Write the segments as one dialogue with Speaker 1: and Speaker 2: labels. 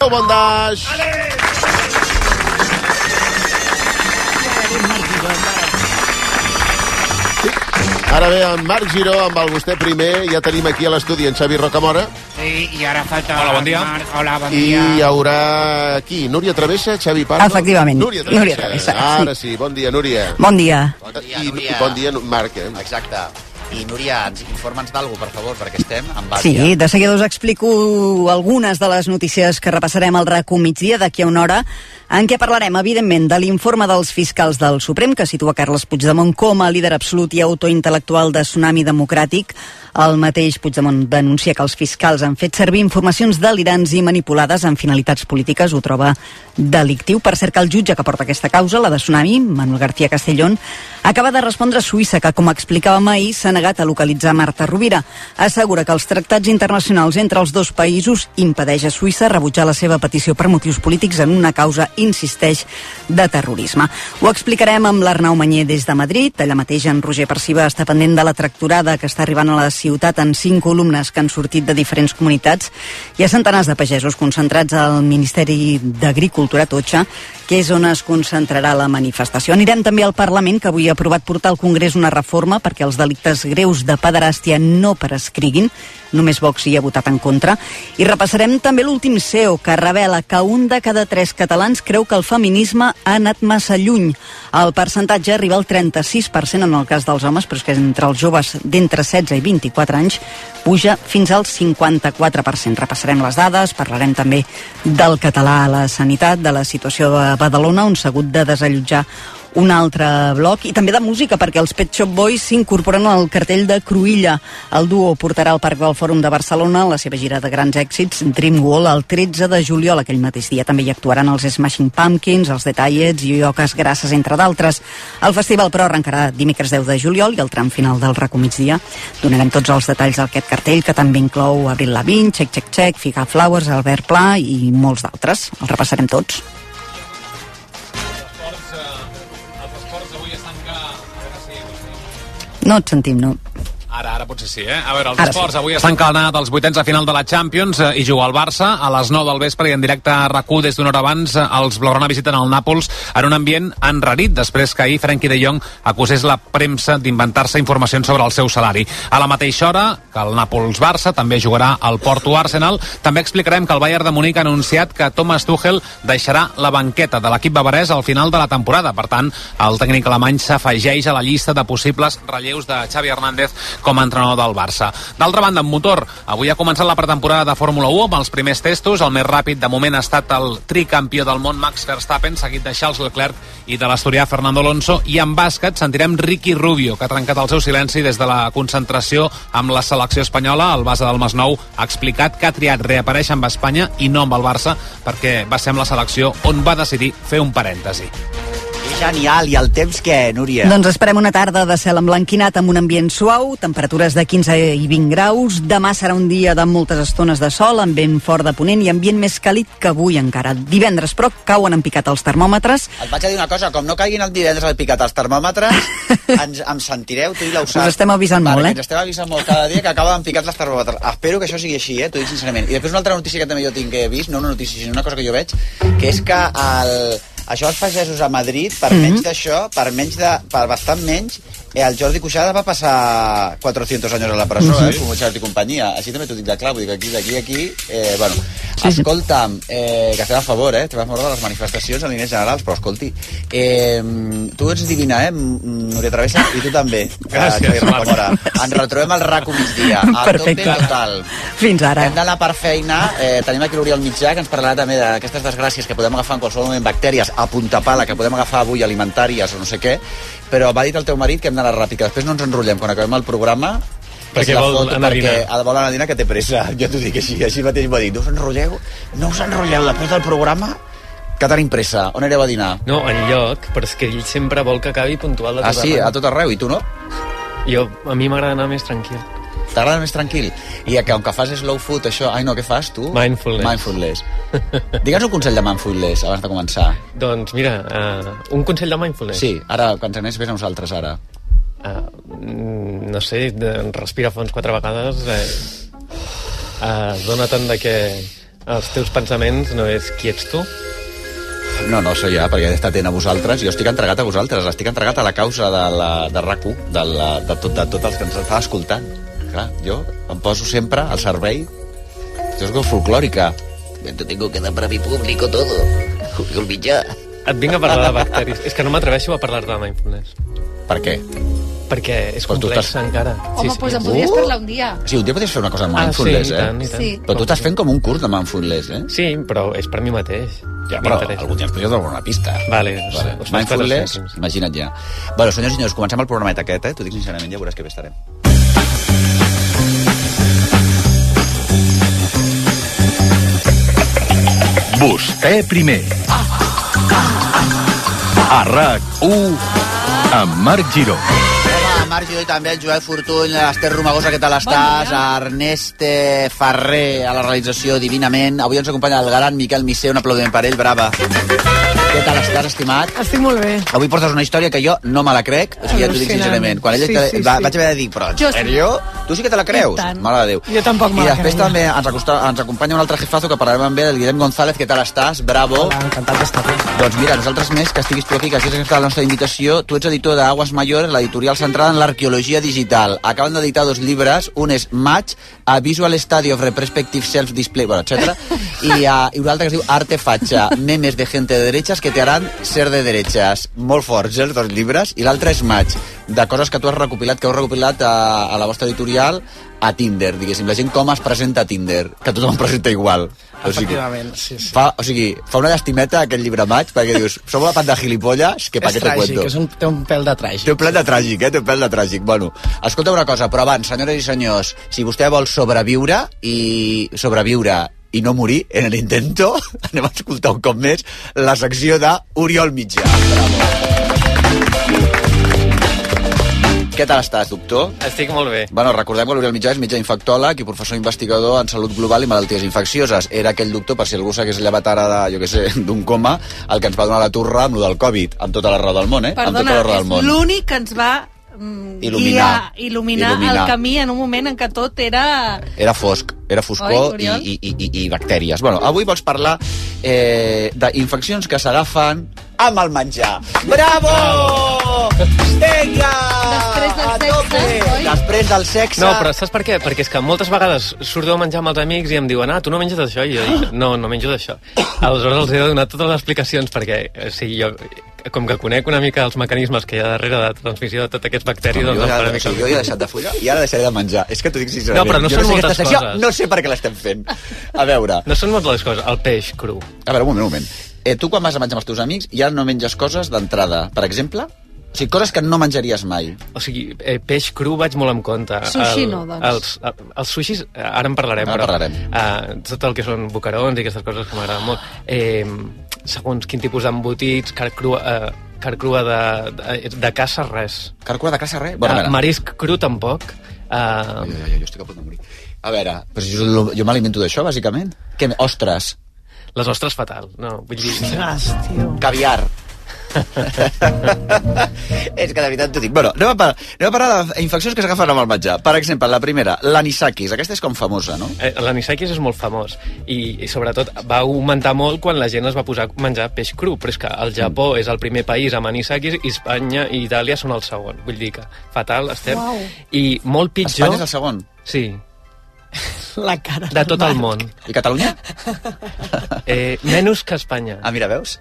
Speaker 1: Adéu, bon daix! Ara ve en Marc Giró amb el vostè primer. Ja tenim aquí a l'estudi en Xavi Rocamora.
Speaker 2: Sí, i ara falta...
Speaker 3: Hola, bon dia.
Speaker 2: Marc. Hola, Ah, bon
Speaker 1: I
Speaker 2: dia.
Speaker 1: hi haurà aquí Núria Travessa, Xavi Pardo...
Speaker 4: Efectivament,
Speaker 1: Núria Travessa.
Speaker 4: Núria Travessa, sí.
Speaker 1: Ara sí, bon dia, Núria.
Speaker 4: Bon dia.
Speaker 1: Bon
Speaker 5: dia,
Speaker 1: I,
Speaker 5: Núria.
Speaker 1: I bon dia, Marc. Eh?
Speaker 5: Exacte. I, Núria, ens informa'ns d'algú, per favor, perquè estem amb
Speaker 4: Sí,
Speaker 5: Bàtia.
Speaker 4: de seguida us explico algunes de les notícies que repassarem al RAC1 migdia d'aquí a una hora, en què parlarem, evidentment, de l'informe dels fiscals del Suprem, que situa Carles Puigdemont com a líder absolut i autor intel·lectual de Tsunami Democràtic. El mateix Puigdemont denuncia que els fiscals han fet servir informacions delirants i manipulades amb finalitats polítiques. Ho troba delictiu. Per cert, que el jutge que porta aquesta causa, la de Tsunami, Manuel García Castellón, acaba de respondre a Suïssa, que, com explicàvem ahir, s'ha negat a localitzar Marta Rovira. Assegura que els tractats internacionals entre els dos països impedeix a Suïssa rebutjar la seva petició per motius polítics en una causa, insisteix, de terrorisme. Ho explicarem amb l'Arnau Manyer des de Madrid. Allà mateix en Roger Perciba està pendent de la tracturada que està arribant a la ciutat en cinc columnes que han sortit de diferents comunitats. Hi ha centenars de pagesos concentrats al Ministeri d'Agricultura a Totxa, que és on es concentrarà la manifestació. Anirem també al Parlament, que avui ha aprovat portar al Congrés una reforma perquè els delictes greus de pederàstia no prescriguin. Només Vox hi ha votat en contra. I repassarem també l'últim CEO, que revela que un de cada tres catalans creu que el feminisme ha anat massa lluny. El percentatge arriba al 36% en el cas dels homes, però és que entre els joves d'entre 16 i 24 anys puja fins al 54%. Repassarem les dades, parlarem també del català a la sanitat, de la situació de Badalona, on s'ha hagut de desallotjar un altre bloc i també de música perquè els Pet Shop Boys s'incorporen al cartell de Cruïlla. El duo portarà al Parc del Fòrum de Barcelona la seva gira de grans èxits Dream Wall el 13 de juliol aquell mateix dia. També hi actuaran els Smashing Pumpkins, els Detallets i Oques Grasses, entre d'altres. El festival, però, arrencarà dimecres 10 de juliol i el tram final del RACO migdia. Donarem tots els detalls d'aquest cartell que també inclou Abril Lavín, Check Check Check, Figa Flowers, Albert Pla i molts d'altres. Els repassarem tots. No et sentim, no.
Speaker 3: Ara, ara potser sí, eh? A veure, els
Speaker 4: Ara
Speaker 3: ara esports sí. avui estan calenats els vuitens de final de la Champions eh, i juga el Barça a les 9 del vespre i en directe a RAC1 des d'una hora abans eh, els Blaugrana visiten el Nàpols en un ambient enrarit després que ahir Frenkie de Jong acusés la premsa d'inventar-se informacions sobre el seu salari. A la mateixa hora que el Nàpols-Barça també jugarà el Porto-Arsenal, també explicarem que el Bayern de Múnich ha anunciat que Thomas Tuchel deixarà la banqueta de l'equip bavarès al final de la temporada. Per tant, el tècnic alemany s'afegeix a la llista de possibles relleus de Xavi Hernández com a entrenador del Barça. D'altra banda, en motor, avui ha començat la pretemporada de Fórmula 1 amb els primers testos. El més ràpid de moment ha estat el tricampió del món Max Verstappen, seguit de Charles Leclerc i de l'asturià Fernando Alonso. I en bàsquet sentirem Ricky Rubio, que ha trencat el seu silenci des de la concentració amb la selecció espanyola. El base del Masnou ha explicat que ha triat reaparèixer amb Espanya i no amb el Barça perquè va ser amb la selecció on va decidir fer un parèntesi.
Speaker 5: Sí. Genial. I el temps què, Núria?
Speaker 4: Doncs esperem una tarda de cel emblanquinat amb un ambient suau, temperatures de 15 i 20 graus. Demà serà un dia de moltes estones de sol, amb vent fort de ponent i ambient més càlid que avui encara. Divendres, però, cauen en picat els termòmetres.
Speaker 5: Et vaig a dir una cosa, com no caiguin el divendres al picat els termòmetres, ens, em sentireu, tu i l'Eusat.
Speaker 4: Us estem avisant molt, eh?
Speaker 5: Ens estem avisant molt cada dia que acaben picats els termòmetres. Espero que això sigui així, eh? T'ho dic sincerament. I després una altra notícia que també jo tinc que he vist, no una notícia, sinó una cosa que jo veig, que és que el... això els pagesos a Madrid,
Speaker 4: Mhm.
Speaker 5: per menys d'això, per, menys de, per bastant menys, eh, el Jordi Cuixada va passar 400 anys a la presó, eh, com a Jordi i companyia. Així també t'ho dic de clar, vull dir que aquí, d'aquí, a aquí... Eh, bueno,
Speaker 4: Sí, sí.
Speaker 5: Escolta'm, eh, que estem a favor, eh? Estem a favor de les manifestacions en línies generals, però escolti, eh, tu ets divina, eh, M- Núria Travessa, i tu també.
Speaker 3: Gràcies,
Speaker 5: eh, Xavier
Speaker 3: Marc.
Speaker 5: Rocamora. Ens retrobem al RAC1 migdia, a
Speaker 4: Perfecte.
Speaker 5: tope total.
Speaker 4: Fins ara.
Speaker 5: Hem d'anar per feina. Eh, tenim aquí l'Oriol Mitjà, que ens parlarà també d'aquestes desgràcies que podem agafar en qualsevol moment, bactèries, a punta pala, que podem agafar avui alimentàries o no sé què. Però m'ha dit el teu marit que hem d'anar ràpid, que després no ens enrotllem. Quan acabem el programa,
Speaker 6: Perquè
Speaker 5: és la
Speaker 6: vol anar a
Speaker 5: perquè
Speaker 6: dinar.
Speaker 5: el vol anar a dinar que té pressa. Jo t'ho dic així, així mateix m'ha dit, no us enrotlleu, no us enrotlleu després del programa, que tenim pressa. On anireu a dinar?
Speaker 6: No, en lloc, però és que ell sempre vol que acabi puntual de
Speaker 5: Ah,
Speaker 6: tot
Speaker 5: sí, a
Speaker 6: arreu.
Speaker 5: tot arreu, i tu no?
Speaker 6: Jo, a mi m'agrada anar més tranquil.
Speaker 5: T'agrada més tranquil? I que, com que fas slow food, això... Ai, no, què fas, tu?
Speaker 6: Mindfulness.
Speaker 5: Mindfulness. Digue'ns un consell de mindfulness abans de començar.
Speaker 6: Doncs mira, uh, un consell de mindfulness.
Speaker 5: Sí, ara, quan ens vés a nosaltres, ara.
Speaker 6: Uh, no sé, Eh, de, respira fons quatre vegades. Eh, uh, Dóna-te'n de que Els teus pensaments no és qui ets tu,
Speaker 5: No, no sé ja, perquè he estat atent a vosaltres. Jo estic entregat a vosaltres, estic entregat a la causa de, la, de rac de, la, de, tot, de tot els que ens està escoltant. Clar, jo em poso sempre al servei. Jo soc folclòrica.
Speaker 7: Yo tengo que dar para mi público todo. Julio Villar.
Speaker 6: et vinc a parlar de bacteris. és que no m'atreveixo a parlar de mindfulness.
Speaker 5: Per què?
Speaker 6: Perquè és
Speaker 5: Però tu
Speaker 6: complex
Speaker 5: estàs-
Speaker 6: encara.
Speaker 8: Home, doncs en podries
Speaker 5: Uh!
Speaker 8: parlar un dia.
Speaker 5: Sí, un dia podries fer una cosa amb
Speaker 6: Ah, sí, i
Speaker 5: mindfulness,
Speaker 6: tant,
Speaker 5: eh?
Speaker 6: i tant.
Speaker 8: Sí.
Speaker 5: Però tu estàs fent com un curs de mindfulness, eh?
Speaker 6: Sí, però és per mi mateix.
Speaker 5: Ja, però
Speaker 6: M'interessa.
Speaker 5: algun dia ens podries donar una pista.
Speaker 6: Vale, no sé, us faig
Speaker 5: Mindfulness,
Speaker 6: 400.
Speaker 5: imagina't ja. Bueno, senyors i senyors, comencem el programet aquest, eh? T'ho dic sincerament, ja veuràs que bé estarem.
Speaker 9: Vostè primer. A RAC1 amb Marc Giró.
Speaker 5: Home, a Marc Giró i també el Joel Fortuny, a l'Ester Romagosa, què tal estàs? A Ernest eh, Ferrer, a la realització Divinament. Avui ens acompanya el gran Miquel Missé, un aplaudiment per ell, brava. Què tal estàs, estimat?
Speaker 10: Estic molt bé.
Speaker 5: Avui portes una història que jo no me la crec, o sigui, ja t'ho dic
Speaker 10: Al·lucinant.
Speaker 5: sincerament. Quan ella
Speaker 10: Sí,
Speaker 5: te-
Speaker 10: sí,
Speaker 5: va,
Speaker 10: sí.
Speaker 5: vaig haver de dir, però en
Speaker 8: Jo sí.
Speaker 5: sèrio? Tu sí que te la creus?
Speaker 10: I tant.
Speaker 5: Mare de Déu.
Speaker 10: Jo tampoc me
Speaker 5: I
Speaker 10: la
Speaker 5: després
Speaker 10: creia.
Speaker 5: també ens, acosta, ens acompanya un altre jefazo que parlarem amb ell, el Guillem González. Què tal estàs? Bravo. Hola, encantat d'estar aquí. Doncs mira, nosaltres més que estiguis tu aquí, que hagis acceptat la nostra invitació. Tu ets editor d'Aguas Mayores, l'editorial centrada en l'arqueologia digital. Acaben d'editar dos llibres. Un és Match, a Visual Study of Retrospective Self-Display, bueno, ah, etc. I, a, I un altre que es diu Arte Facha, memes de gente de derechas que te harán ser de derechas. Molt forts, eh, els dos llibres. I l'altre és Match, de coses que tu has recopilat, que heu recopilat a, a la vostra editorial, a Tinder, diguéssim, la gent com es presenta a Tinder, que tothom presenta igual. O sigui,
Speaker 10: Efectivament, sí, sí.
Speaker 5: fa, o sigui, fa una llestimeta aquest llibre maig, perquè dius, som una panda de gilipolles, que pa
Speaker 10: és
Speaker 5: què te
Speaker 10: tràgic,
Speaker 5: cuento.
Speaker 10: és un, té un pèl de tràgic.
Speaker 5: Té un plan de tràgic, eh? Té un plan de tràgic. Bueno, escolta una cosa, però abans, senyores i senyors, si vostè vol sobreviure i sobreviure i no morir en l'intento, anem a escoltar un cop més la secció d'Oriol Mitjà. Bravo. Què tal estàs, doctor?
Speaker 6: Estic molt bé.
Speaker 5: Bueno, recordem que l'Oriol Mitjà és mitjà infectòleg i professor investigador en salut global i malalties infeccioses. Era aquell doctor, per si algú s'hagués llevat ara, de, jo què sé, d'un coma, el que ens va donar la turra amb lo del Covid, amb tota la raó del món, eh? amb tota
Speaker 8: Perdona,
Speaker 5: la raó del
Speaker 8: és
Speaker 5: món.
Speaker 8: l'únic que ens va mm,
Speaker 5: Il·luminar.
Speaker 8: guiar, il·luminar,
Speaker 5: Il·luminar.
Speaker 8: el camí en un moment en què tot era...
Speaker 5: Era fosc, era foscor i,
Speaker 8: Oi, Oriol?
Speaker 5: i, i, i, i bactèries. Bueno, avui vols parlar eh, d'infeccions que s'agafen amb el menjar. Bravo! Vinga!
Speaker 8: Després del
Speaker 5: A
Speaker 8: sexe,
Speaker 5: tope!
Speaker 8: oi?
Speaker 5: Després del sexe.
Speaker 6: No, però saps per què? Perquè és que moltes vegades surto a menjar amb els amics i em diuen ah, tu no menges això? I jo dic, no, no menjo d'això. Aleshores els he de donar totes les explicacions perquè, o sigui, jo com que conec una mica els mecanismes que hi ha darrere de transmissió de tot aquests bacteris,
Speaker 5: Jo,
Speaker 6: doncs em
Speaker 5: ja,
Speaker 6: faré
Speaker 5: o
Speaker 6: mica...
Speaker 5: sigui, jo ja he deixat de follar i ara deixaré de menjar. És que t'ho dic sincerament.
Speaker 6: No, però no
Speaker 5: jo
Speaker 6: són
Speaker 5: sé
Speaker 6: moltes
Speaker 5: aquesta secció,
Speaker 6: coses.
Speaker 5: No sé per què l'estem fent. A veure,
Speaker 6: No són moltes les coses, el peix cru.
Speaker 5: a veure, un moment, un moment. Eh, tu quan vas a menjar amb els teus amics ja no menges coses d'entrada. Per exemple, o sigui, coses que no menjaries mai.
Speaker 6: O sigui, eh, peix cru vaig molt en compte.
Speaker 8: Sushi no, doncs.
Speaker 6: Els, eh, els sushis, eh, ara en parlarem,
Speaker 5: Ara
Speaker 6: però...
Speaker 5: parlarem.
Speaker 6: Eh, tot el que són bocarons i aquestes coses que m'agraden molt. Eh, segons quin tipus d'embotits, car crua, eh, car crua de, de, de caça, res.
Speaker 5: Carcura de casa, res?
Speaker 6: Bueno,
Speaker 5: a veure.
Speaker 6: marisc cru, tampoc. Eh,
Speaker 5: Ai, ai, ai, jo estic a punt de morir. A veure, però si jo, jo m'alimento d'això, bàsicament. Què, me- ostres,
Speaker 6: les ostres, fatal. No, vull dir...
Speaker 10: Ostres, tio.
Speaker 5: caviar. és que de veritat t'ho dic. Bueno, anem a, par- anem a parlar d'infeccions que s'agafen amb el menjar. Per exemple, la primera, l'anisakis. Aquesta és com famosa, no?
Speaker 6: Eh, L'anisakis és molt famós i, i sobretot va augmentar molt quan la gent es va posar a menjar peix cru però és que el Japó
Speaker 5: Mm.
Speaker 6: és el primer país amb anisakis i Espanya i Itàlia són el segon vull dir que fatal estem
Speaker 8: Uau.
Speaker 6: i molt pitjor
Speaker 5: Espanya és el segon.
Speaker 6: sí,
Speaker 10: La cara
Speaker 6: de tot el
Speaker 10: Marc.
Speaker 6: món
Speaker 5: I Catalunya?
Speaker 6: eh, menys que Espanya
Speaker 5: Ah, mira, veus?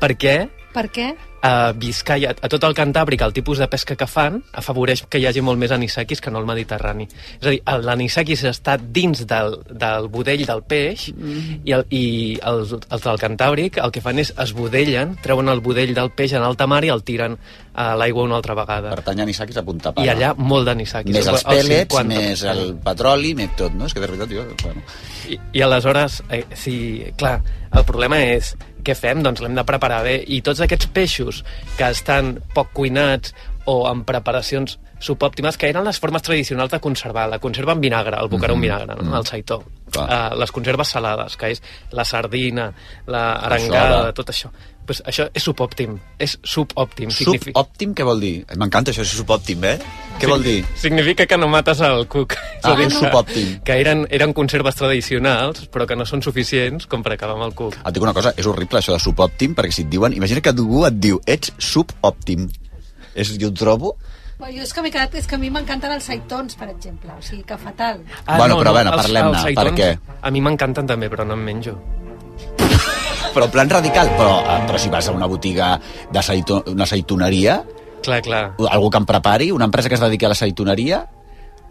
Speaker 6: perquè
Speaker 8: Per què?
Speaker 6: a Biscaia, a tot el Cantàbric, el tipus de pesca que fan afavoreix que hi hagi molt més anisakis que no el Mediterrani. És a dir, el- l'anisakis està dins del, del budell del peix mm. i, el, i els, els del Cantàbric el que fan és es budellen, treuen el budell del peix en alta mar i el tiren a l'aigua una altra vegada.
Speaker 5: Per tant, anisakis a punta
Speaker 6: I
Speaker 5: pala.
Speaker 6: allà molt d'anisakis.
Speaker 5: Més els
Speaker 6: El
Speaker 5: pellets,
Speaker 6: 50%.
Speaker 5: més el petroli, més tot, no? És que de veritat jo... Bueno.
Speaker 6: I, i aleshores, eh, si, clar, el problema és què fem? Doncs l'hem de preparar bé. I tots aquests peixos que estan poc cuinats o en preparacions
Speaker 5: Mm-hmm.
Speaker 6: subòptimes, que eren les formes tradicionals de conservar. La conserva en vinagre, el bocaró en vinagre, no? el saitó. uh, les conserves salades, que és la sardina, la
Speaker 5: Això,
Speaker 6: arengada, tot això. Pues això és subòptim. És subòptim. Signifi-
Speaker 5: Subòptim, què vol dir? M'encanta això, és subòptim, eh? Què vol dir?
Speaker 6: Significa que no mates el cuc. És a
Speaker 5: Ah,
Speaker 6: dir,
Speaker 5: és subòptim.
Speaker 6: Que eren, eren conserves tradicionals, però que no són suficients com per acabar amb el cuc.
Speaker 5: Et dic una cosa, és horrible això de subòptim, perquè si et diuen... Imagina que algú et diu, ets subòptim. És, jo ho trobo...
Speaker 8: Bueno, jo és que m'he quedat... És que a mi m'encanten els saitons, per exemple. O sigui, que fatal.
Speaker 5: Ah, Bueno, però a veure, parlem-ne,
Speaker 6: els
Speaker 5: per
Speaker 6: aitons
Speaker 5: què?
Speaker 6: A mi m'encanten també, però no en menjo.
Speaker 5: Però en plan radical, però, eh, però si vas a una botiga de saito, una saitoneria,
Speaker 6: Clar, clar.
Speaker 5: algú que em prepari, una empresa que es dediqui a la saitoneria,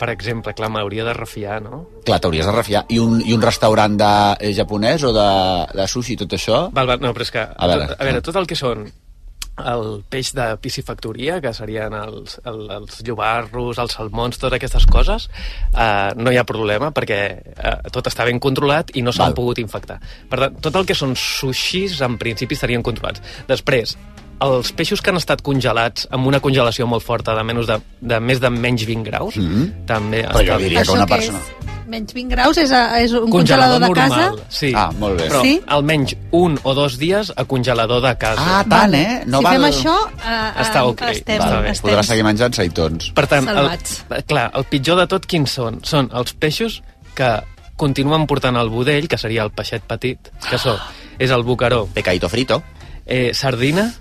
Speaker 6: Per exemple, clar, m'hauria de refiar, no?
Speaker 5: clar, t'hauries de refiar. I un, i un restaurant de, eh, japonès o de, de sushi, tot això...
Speaker 6: Val, val, no, però és que...
Speaker 5: A veure.
Speaker 6: tot, a veure, tot el que són el peix de piscifactoria, que serien els, el, els llobarros, els salmons, totes aquestes coses, eh, no hi ha problema perquè eh, tot està ben controlat i no s'han
Speaker 5: Val.
Speaker 6: pogut infectar. Per tant, tot el que són sushis, en principi, estarien controlats. Després, els peixos que han estat congelats amb una congelació molt forta de, menys de, de més de menys 20 graus, mm -hmm. també
Speaker 5: Però jo diria que
Speaker 8: Això
Speaker 5: una
Speaker 8: què
Speaker 5: persona...
Speaker 8: és? Menys 20 graus és, a, és un congelador, de casa?
Speaker 6: normal, Sí.
Speaker 5: Ah, molt bé.
Speaker 6: Però
Speaker 8: Sí?
Speaker 6: almenys un o dos dies a congelador de casa.
Speaker 5: Ah, tant, eh? No
Speaker 8: si
Speaker 5: val...
Speaker 8: fem això, eh,
Speaker 6: Està ok,
Speaker 8: estem,
Speaker 6: va bé.
Speaker 8: estem.
Speaker 5: Podràs seguir menjant saitons.
Speaker 6: Per tant, el,
Speaker 8: Salvats.
Speaker 6: Eh, clar, el pitjor de tot quins són? Són els peixos que continuen portant el budell, que seria el peixet petit, que so, és el bucaró,
Speaker 5: Pecaito Ah. frito.
Speaker 6: eh, sardina,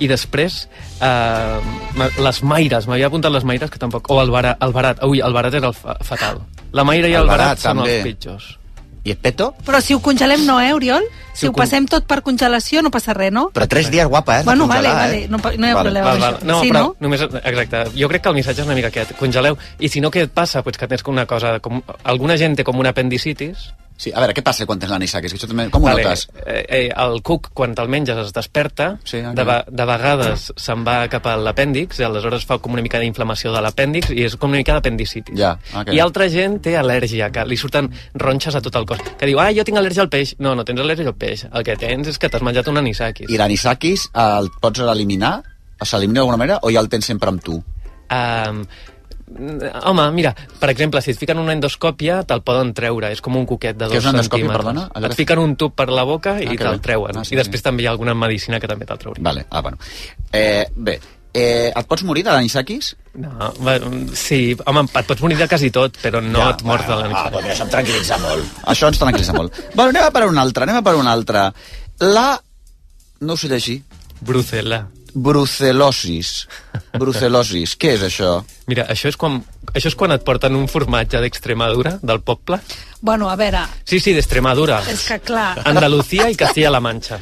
Speaker 6: i després eh, ma- les maires, m'havia apuntat les maires que tampoc, o el, bara, el barat, ui, el barat era el fa, fatal. La maire i
Speaker 5: El
Speaker 6: el,
Speaker 5: barat,
Speaker 6: barat, són
Speaker 5: també.
Speaker 6: els pitjors.
Speaker 5: I el peto?
Speaker 8: Però si ho congelem no, eh, Oriol? Si,
Speaker 6: Si ho
Speaker 8: ho
Speaker 6: con-
Speaker 8: passem tot per congelació no passa res, no?
Speaker 5: Però tres dies guapa, eh? de
Speaker 8: Bueno,
Speaker 5: congelar,
Speaker 8: vale, vale, no pa- no hi ha problema.
Speaker 6: Val,
Speaker 8: Això.
Speaker 6: val. No,
Speaker 8: Sí,
Speaker 6: però
Speaker 8: no?
Speaker 6: només... Exacte. Jo crec que el missatge és una mica aquest. Congeleu. I si no, què et passa? Pues que tens com una cosa... Com, alguna gent té com una apendicitis.
Speaker 5: Sí, a veure, què passa quan tens l'anisakis? Que això també... Com ho notes?
Speaker 6: Eh, eh, el cuc, quan te'l menges, es desperta.
Speaker 5: Sí,
Speaker 6: de, ve- de vegades se'n va cap a l'apèndix i aleshores fa com una mica d'inflamació de l'apèndix i és com una mica d'apendicitis.
Speaker 5: Ja, ah, ok.
Speaker 6: I altra gent té al·lèrgia, que li surten ronxes a tot el cos. Que diu, ah, jo tinc al·lèrgia al peix. No, no tens al·lèrgia al peix. El que tens és que t'has menjat un anisakis.
Speaker 5: I l'anisakis eh, el pots eliminar? S'elimina d'alguna manera o ja el tens sempre amb tu?
Speaker 6: Um, home, mira, per exemple, si et fiquen una endoscòpia, te'l poden treure. És com un coquet de
Speaker 5: Què
Speaker 6: dos
Speaker 5: és una endoscòpia,
Speaker 6: centímetres.
Speaker 5: perdona? Allò que-
Speaker 6: Et fiquen un tub per la boca
Speaker 5: Ah,
Speaker 6: i
Speaker 5: que
Speaker 6: te'l
Speaker 5: bé.
Speaker 6: treuen.
Speaker 5: Ah, sí,
Speaker 6: I després
Speaker 5: sí.
Speaker 6: també hi ha alguna medicina que també te'l trauria.
Speaker 5: Vale, ah, bueno. Eh, bé, eh, et pots morir de l'anisakis?
Speaker 6: No, va, sí, home, et pots morir de quasi tot, però no ja, et mors de
Speaker 5: Ah,
Speaker 6: l'anisakis.
Speaker 5: doncs això em tranquil·litza molt. Això ens tranquil·litza molt. Bueno, anem a per una altra, anem a per una altra. La... No ho sé llegir.
Speaker 6: Brucel·la.
Speaker 5: Brucelosis. Brucelosis. Què és això?
Speaker 6: Mira, això és, quan, això és quan et porten un formatge d'Extremadura, del poble.
Speaker 8: Bueno, a veure,
Speaker 6: Sí, sí, d'Extremadura.
Speaker 8: és que clar...
Speaker 6: Andalucía i Castilla-La Mancha.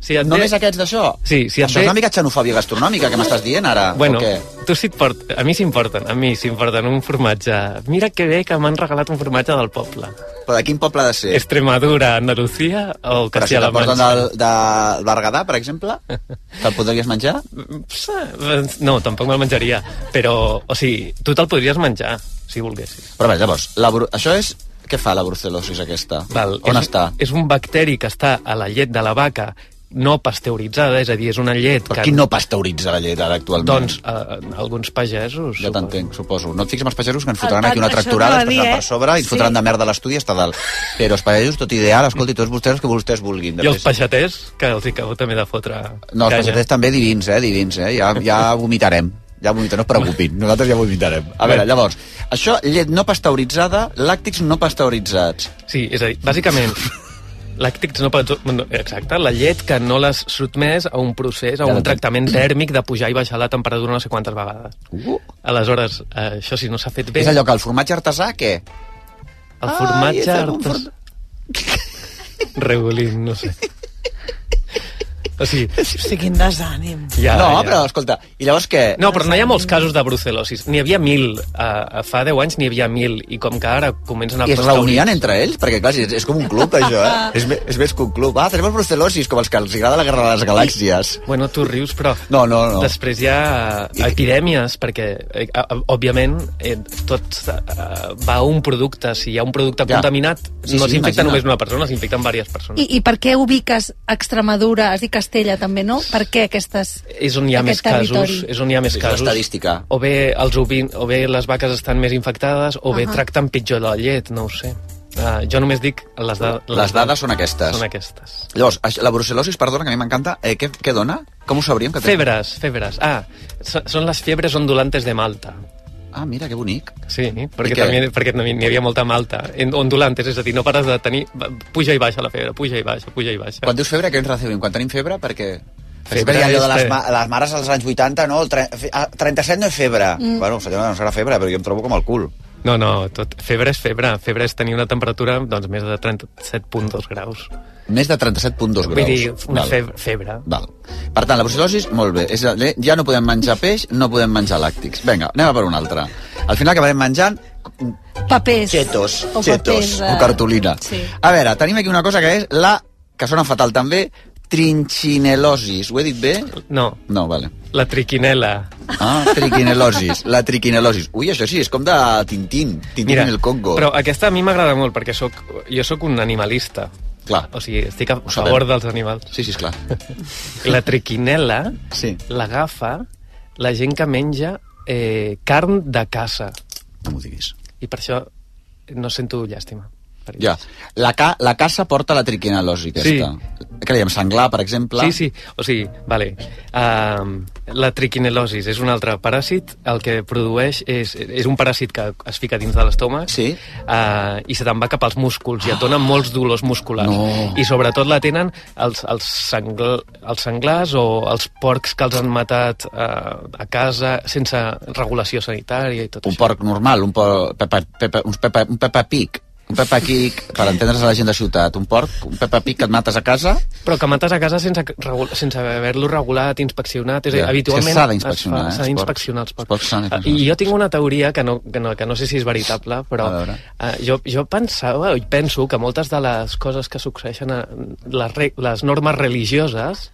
Speaker 6: Si et
Speaker 5: Només
Speaker 6: ve-
Speaker 5: aquests d'això?
Speaker 6: Sí, si et
Speaker 5: Això
Speaker 6: ve-
Speaker 5: és una mica xenofòbia gastronòmica que m'estàs dient ara,
Speaker 6: Bueno,
Speaker 5: o què?
Speaker 6: tu si et port... a mi s'importen, a mi s'importen un formatge. Mira que bé que m'han regalat un formatge del poble.
Speaker 5: Però de quin poble ha de ser?
Speaker 6: Extremadura, Andalucía o
Speaker 5: Però si
Speaker 6: Castilla-La
Speaker 5: te'l porten
Speaker 6: Mancha? Eh.
Speaker 5: del, del Berguedà, per exemple, te'l podries menjar?
Speaker 6: Psa, No, tampoc me'l menjaria, però, o sigui, tu te'l podries menjar, si volguessis.
Speaker 5: Però bé, llavors, la, bru- això és... Què fa la brucel·losis aquesta? On
Speaker 6: és,
Speaker 5: està?
Speaker 6: És un bacteri que està a la llet de la vaca no pasteuritzada, és a dir, és una llet
Speaker 5: Però
Speaker 6: que...
Speaker 5: qui no pasteuritza la llet ara actualment?
Speaker 6: Doncs, eh, alguns pagesos...
Speaker 5: Ja
Speaker 6: suposo.
Speaker 5: t'entenc, suposo. No et fiquis amb els pagesos que ens fotran
Speaker 8: Ah,
Speaker 5: aquí una
Speaker 8: això
Speaker 5: tracturada,
Speaker 8: anava
Speaker 5: ens
Speaker 8: a dir,
Speaker 5: passaran
Speaker 8: eh?
Speaker 5: per sobre i ens
Speaker 8: Sí.
Speaker 5: fotran de merda a l'estudi i està dalt. Però els pagesos, tot ideal, escolti, tots vostès els que vostès vulguin.
Speaker 6: I els peixaters, que els hi acabo també de fotre...
Speaker 5: No, els
Speaker 6: canya.
Speaker 5: peixaters també divins, eh, divins, eh? Ja, ja vomitarem. Ja vomitarem, no es preocupin, nosaltres ja vomitarem. A veure, llavors, això, llet no pasteuritzada, làctics no pasteuritzats.
Speaker 6: Sí, és a dir, bàsicament, làctics no pot... no, Exacte, la llet que no l'has sotmès a un procés,
Speaker 5: Ja
Speaker 6: a un
Speaker 5: l'entenc.
Speaker 6: tractament tèrmic de pujar i baixar la temperatura no sé quantes vegades.
Speaker 5: Uh.
Speaker 6: Aleshores, eh, això si no s'ha fet bé,
Speaker 5: És allò que el formatge artesà, què?
Speaker 6: el formatge...
Speaker 5: Ai, és un
Speaker 6: artes- Regulín, no sé. O sigui,
Speaker 10: Hosti, quin desànim.
Speaker 6: Ah, ja,
Speaker 5: no,
Speaker 6: ja.
Speaker 5: però, escolta, i llavors què?
Speaker 6: No, però no hi ha molts casos de brucel·losis. N'hi havia mil. Uh, fa 10 anys n'hi havia mil. I com que ara comencen a...
Speaker 5: I es
Speaker 6: pasteurir-
Speaker 5: reunien entre ells? Perquè, clar, si és, és com un club, això, eh? és, me- és més que un club. Ah, tenim els brucelosis, com els que els agrada la Guerra de les Galàxies.
Speaker 6: Bueno, tu rius, però...
Speaker 5: No, no, no.
Speaker 6: Després hi ha eh, epidèmies, perquè, eh, a- a- òbviament, eh, tot eh, va a un producte. Si hi ha un producte
Speaker 5: Ja.
Speaker 6: ja. contaminat,
Speaker 5: Sí,
Speaker 6: sí, no
Speaker 5: sí,
Speaker 6: s'infecta
Speaker 5: imagina't.
Speaker 6: només una persona, s'infecten diverses persones.
Speaker 8: I, I per què ubiques Extremadura, has dit Castella també, no? Per què aquestes...
Speaker 6: és on hi ha més
Speaker 8: aquest territori?
Speaker 6: casos, és on hi ha més
Speaker 5: És
Speaker 6: casos.
Speaker 5: l'estadística.
Speaker 6: O bé els ovin, o bé les vaques estan més infectades, o bé
Speaker 8: Ahà.
Speaker 6: tracten pitjor la llet, no ho sé. Uh, jo només dic les, da
Speaker 5: Les dades són aquestes.
Speaker 6: Són aquestes.
Speaker 5: Llavors, això- la brucel·losis, perdona, que a mi m'encanta, eh, què, què dona? Com ho sabríem? Que té?
Speaker 6: Febres, febres. Ah, so- són les fiebres ondulantes de Malta.
Speaker 5: Ah, mira, que bonic.
Speaker 6: Sí, perquè
Speaker 5: què?
Speaker 6: també perquè també n'hi havia molta a Malta. En- Ondulantes, és a dir, no pares de tenir... va- Puja i baixa la febre, puja i baixa, puja i baixa.
Speaker 5: Quan dius febre, què ens recebim? Quan tenim febre, perquè...
Speaker 6: Febre
Speaker 5: Febre, hi ha allò de les,
Speaker 6: és-
Speaker 5: ma les mares als anys 80, no? El tre- fe- ah, 37 no és febre.
Speaker 8: Mm.
Speaker 5: Mm. Bueno, senyora, no serà febre, però jo em trobo com el cul.
Speaker 6: No, no, tot, febre és febre. Febre és tenir una temperatura doncs, més de 37.2 graus.
Speaker 5: Més de 37.2 graus.
Speaker 6: Vull dir, una
Speaker 5: Val.
Speaker 6: febre, febre.
Speaker 5: Val. Per tant, la brucel·losis, molt bé. És, a dir, ja no podem menjar peix, no podem menjar làctics. Vinga, anem a per una altra. Al final acabarem menjant
Speaker 8: Papers.
Speaker 5: chetos,
Speaker 8: O
Speaker 5: chetos,
Speaker 8: papers, eh.
Speaker 5: o cartolina.
Speaker 8: Sí.
Speaker 5: A veure, tenim aquí una cosa que és la, que sona fatal també, trinxinelosis. Ho he dit bé?
Speaker 6: No,
Speaker 5: No, vale.
Speaker 6: la triquinela.
Speaker 5: Ah, triquinelosis, la triquinelosis. Ui, això sí, és com de Tintín, Tintín Mira, en el Congo.
Speaker 6: Però aquesta a mi m'agrada molt perquè soc, jo sóc un animalista.
Speaker 5: Clar,
Speaker 6: O sigui, estic a
Speaker 5: sabem.
Speaker 6: favor dels animals.
Speaker 5: sí, sí, esclar.
Speaker 6: La triquinela
Speaker 5: Sí.
Speaker 6: l'agafa la gent que menja eh, carn de caça.
Speaker 5: No m'ho diguis.
Speaker 6: I per això no sento llàstima. per ells.
Speaker 5: Ja. La, ca la caça porta la triquinelosi, aquesta. Sí. Què dèiem, senglar, per exemple?
Speaker 6: Sí, sí, o sigui, vale. Um, la triquinelosis és un altre paràsit, el que produeix és, és un paràsit que es fica dins de l'estómac
Speaker 5: Sí. Ah.
Speaker 6: uh, i se te'n va cap als músculs i et dona molts dolors musculars.
Speaker 5: No.
Speaker 6: I sobretot la tenen els, els, sengl, els senglars o els porcs que els han matat uh, a casa sense regulació sanitària i tot
Speaker 5: Un
Speaker 6: això.
Speaker 5: porc normal, un porc... Pepa, pepa, uns pepa, un pepa pic. Un pepa quic, per entendre's a la gent de ciutat. Un porc, un pepa pic que et mates a casa...
Speaker 6: Però que mates a casa sense, que- regul- sense haver-lo regulat, inspeccionat... És a dir,
Speaker 5: Ja, és que
Speaker 6: habitualment
Speaker 5: s'ha d'inspeccionar,
Speaker 6: es
Speaker 5: eh,
Speaker 6: fa- S'ha
Speaker 5: els porcs.
Speaker 6: d'inspeccionar els
Speaker 5: Els
Speaker 6: porcs.
Speaker 5: porcs s'han d'inspeccionar.
Speaker 6: I jo tinc una teoria que no, que no, que no sé si és veritable, però
Speaker 5: A veure.
Speaker 6: eh, jo, jo pensava, i penso, que moltes de les coses que succeeixen, a, les, re- les normes religioses,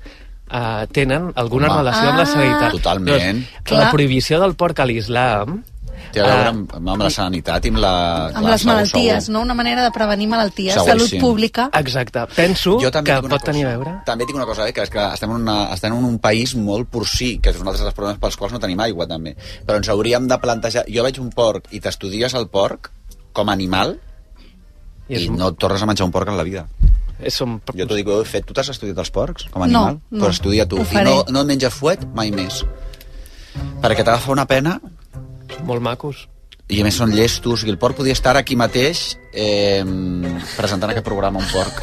Speaker 6: eh, tenen alguna
Speaker 5: Home.
Speaker 6: relació amb
Speaker 8: Ah.
Speaker 6: la sanitat.
Speaker 5: Totalment.
Speaker 6: la
Speaker 8: Clar.
Speaker 6: prohibició del porc a l'islam...
Speaker 5: Té a veure
Speaker 6: eh,
Speaker 5: amb, amb la sanitat i amb la...
Speaker 8: Amb les malalties, no? Una manera de prevenir malalties.
Speaker 5: Segur,
Speaker 8: Salut
Speaker 5: sí.
Speaker 8: pública.
Speaker 6: Exacte. Penso que
Speaker 5: Jo
Speaker 6: pot
Speaker 5: també tinc una cosa,
Speaker 6: tenir a veure...
Speaker 5: També tinc una cosa, eh, que és que estem en, una, estem en un país molt porcí, que és un altre dels problemes pels quals no tenim aigua, també. Però ens hauríem de plantejar... Jo veig un porc i t'estudies el porc com a animal
Speaker 6: I és,
Speaker 5: i no tornes a menjar un porc en la vida.
Speaker 6: és, són,
Speaker 5: Jo t'ho dic, ho he fet. Tu t'has estudiat els porcs com a
Speaker 8: No,
Speaker 5: animal?
Speaker 8: no.
Speaker 5: Però estudia tu.
Speaker 8: Ho
Speaker 5: I
Speaker 8: faré.
Speaker 5: no, no et menges fuet mai més. Perquè t'agafa una pena
Speaker 6: Doncs, molt macos.
Speaker 5: i a més són llestos i el porc podia estar aquí mateix eh, presentant aquest programa un porc.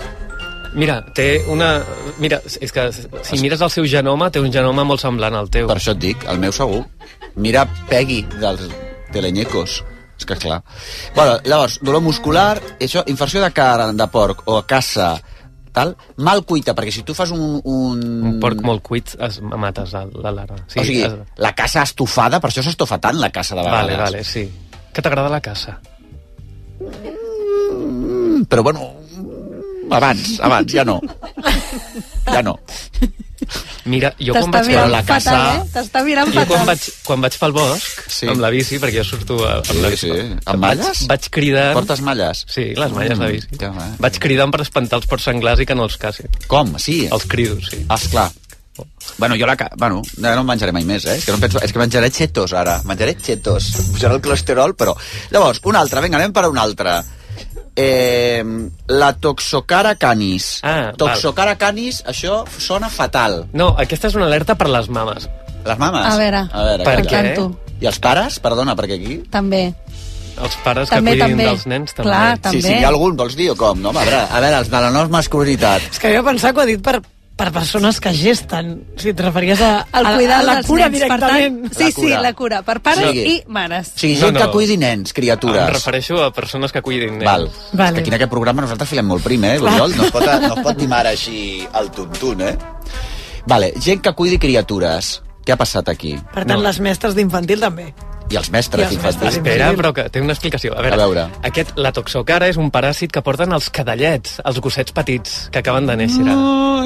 Speaker 6: Mira, té una... Mira, és que si mires el seu genoma, té un genoma molt semblant al teu.
Speaker 5: Per això et dic, el meu segur. Mira Peggy dels Teleñecos. És que clar. Bueno, llavors, dolor muscular, això, infarció de carn de porc o caça, tal, mal cuita, perquè si tu fas un... Un,
Speaker 6: Un porc molt cuit es mates a la lara.
Speaker 5: Sí, o sigui,
Speaker 6: es...
Speaker 5: la caça estofada, per això s'estofa tant la caça de vegades.
Speaker 6: Vale, vale, sí. Que t'agrada la caça?
Speaker 5: Mm, Però bueno, abans, abans, ja no. Ja no.
Speaker 6: Mira, jo quan
Speaker 8: T'està
Speaker 6: vaig...
Speaker 8: mirant
Speaker 5: la
Speaker 8: fatal,
Speaker 5: casa-
Speaker 8: eh? T'està mirant
Speaker 6: Jo quan
Speaker 8: fatal.
Speaker 6: vaig, quan vaig pel bosc,
Speaker 5: Sí.
Speaker 6: sí. amb la bici, perquè jo surto a, amb
Speaker 5: Sí,
Speaker 6: la bici...
Speaker 5: sí. Amb
Speaker 6: vaig-
Speaker 5: malles?
Speaker 6: Vaig cridant...
Speaker 5: Portes malles?
Speaker 6: Sí, les malles de bici.
Speaker 5: Mm, que maco.
Speaker 6: vaig cridant per espantar els porcs senglars i que no els cacin.
Speaker 5: Com? Sí.
Speaker 6: Els crido, sí.
Speaker 5: Esclar. Bueno, jo la... ca- Bueno, ja no en menjaré mai més, eh? És que, no em penso... és que menjaré xetos, ara. Menjaré xetos. Pujaré el colesterol, però... Llavors, una altra. Vinga, anem per una altra. Eh, la toxocara canis.
Speaker 6: Ah, val.
Speaker 5: toxocara canis, això sona fatal.
Speaker 6: No, aquesta és una alerta per les mames.
Speaker 5: Les mames?
Speaker 8: A veure.
Speaker 5: A veure
Speaker 6: Per
Speaker 5: què tal?
Speaker 6: què?
Speaker 8: Canto.
Speaker 5: I els pares? Perdona, perquè aquí...
Speaker 8: També.
Speaker 6: Els pares
Speaker 8: També,
Speaker 6: que cuidin
Speaker 8: també.
Speaker 6: dels nens també.
Speaker 8: Clar,
Speaker 5: Sí,
Speaker 8: També.
Speaker 5: sí, hi ha algun, vols dir, o com? No, home, a veure, a veure els de la nostra masculinitat.
Speaker 10: És que jo pensava que ho ha dit per, per persones que gesten. Si et referies a, a,
Speaker 8: El cuidar
Speaker 10: a la
Speaker 8: dels
Speaker 10: cura
Speaker 8: nens,
Speaker 10: directament.
Speaker 8: Per tant, sí,
Speaker 5: La cura.
Speaker 8: sí, la cura. Per pares
Speaker 5: O sigui-
Speaker 8: i mares.
Speaker 5: O sigui,
Speaker 6: No,
Speaker 5: gent
Speaker 6: no.
Speaker 5: que cuidi nens, criatures.
Speaker 6: Em refereixo a persones que cuidin nens.
Speaker 5: Val.
Speaker 10: Vale.
Speaker 5: És que aquí en aquest programa nosaltres filem molt prim, eh, Oriol? No es pot, no es pot timar així al tuntun, eh? Vale, gent que cuidi criatures. Què ha passat aquí?
Speaker 10: Per tant,
Speaker 6: No.
Speaker 10: les mestres d'infantil també.
Speaker 5: I els mestres
Speaker 10: I els
Speaker 5: infantils.
Speaker 10: mestres.
Speaker 6: Espera,
Speaker 10: Increïble.
Speaker 6: però que té una explicació. A veure,
Speaker 5: A veure.
Speaker 6: Aquest, la toxocara és un paràsit que porten els cadallets, els gossets petits que acaben de néixer. No.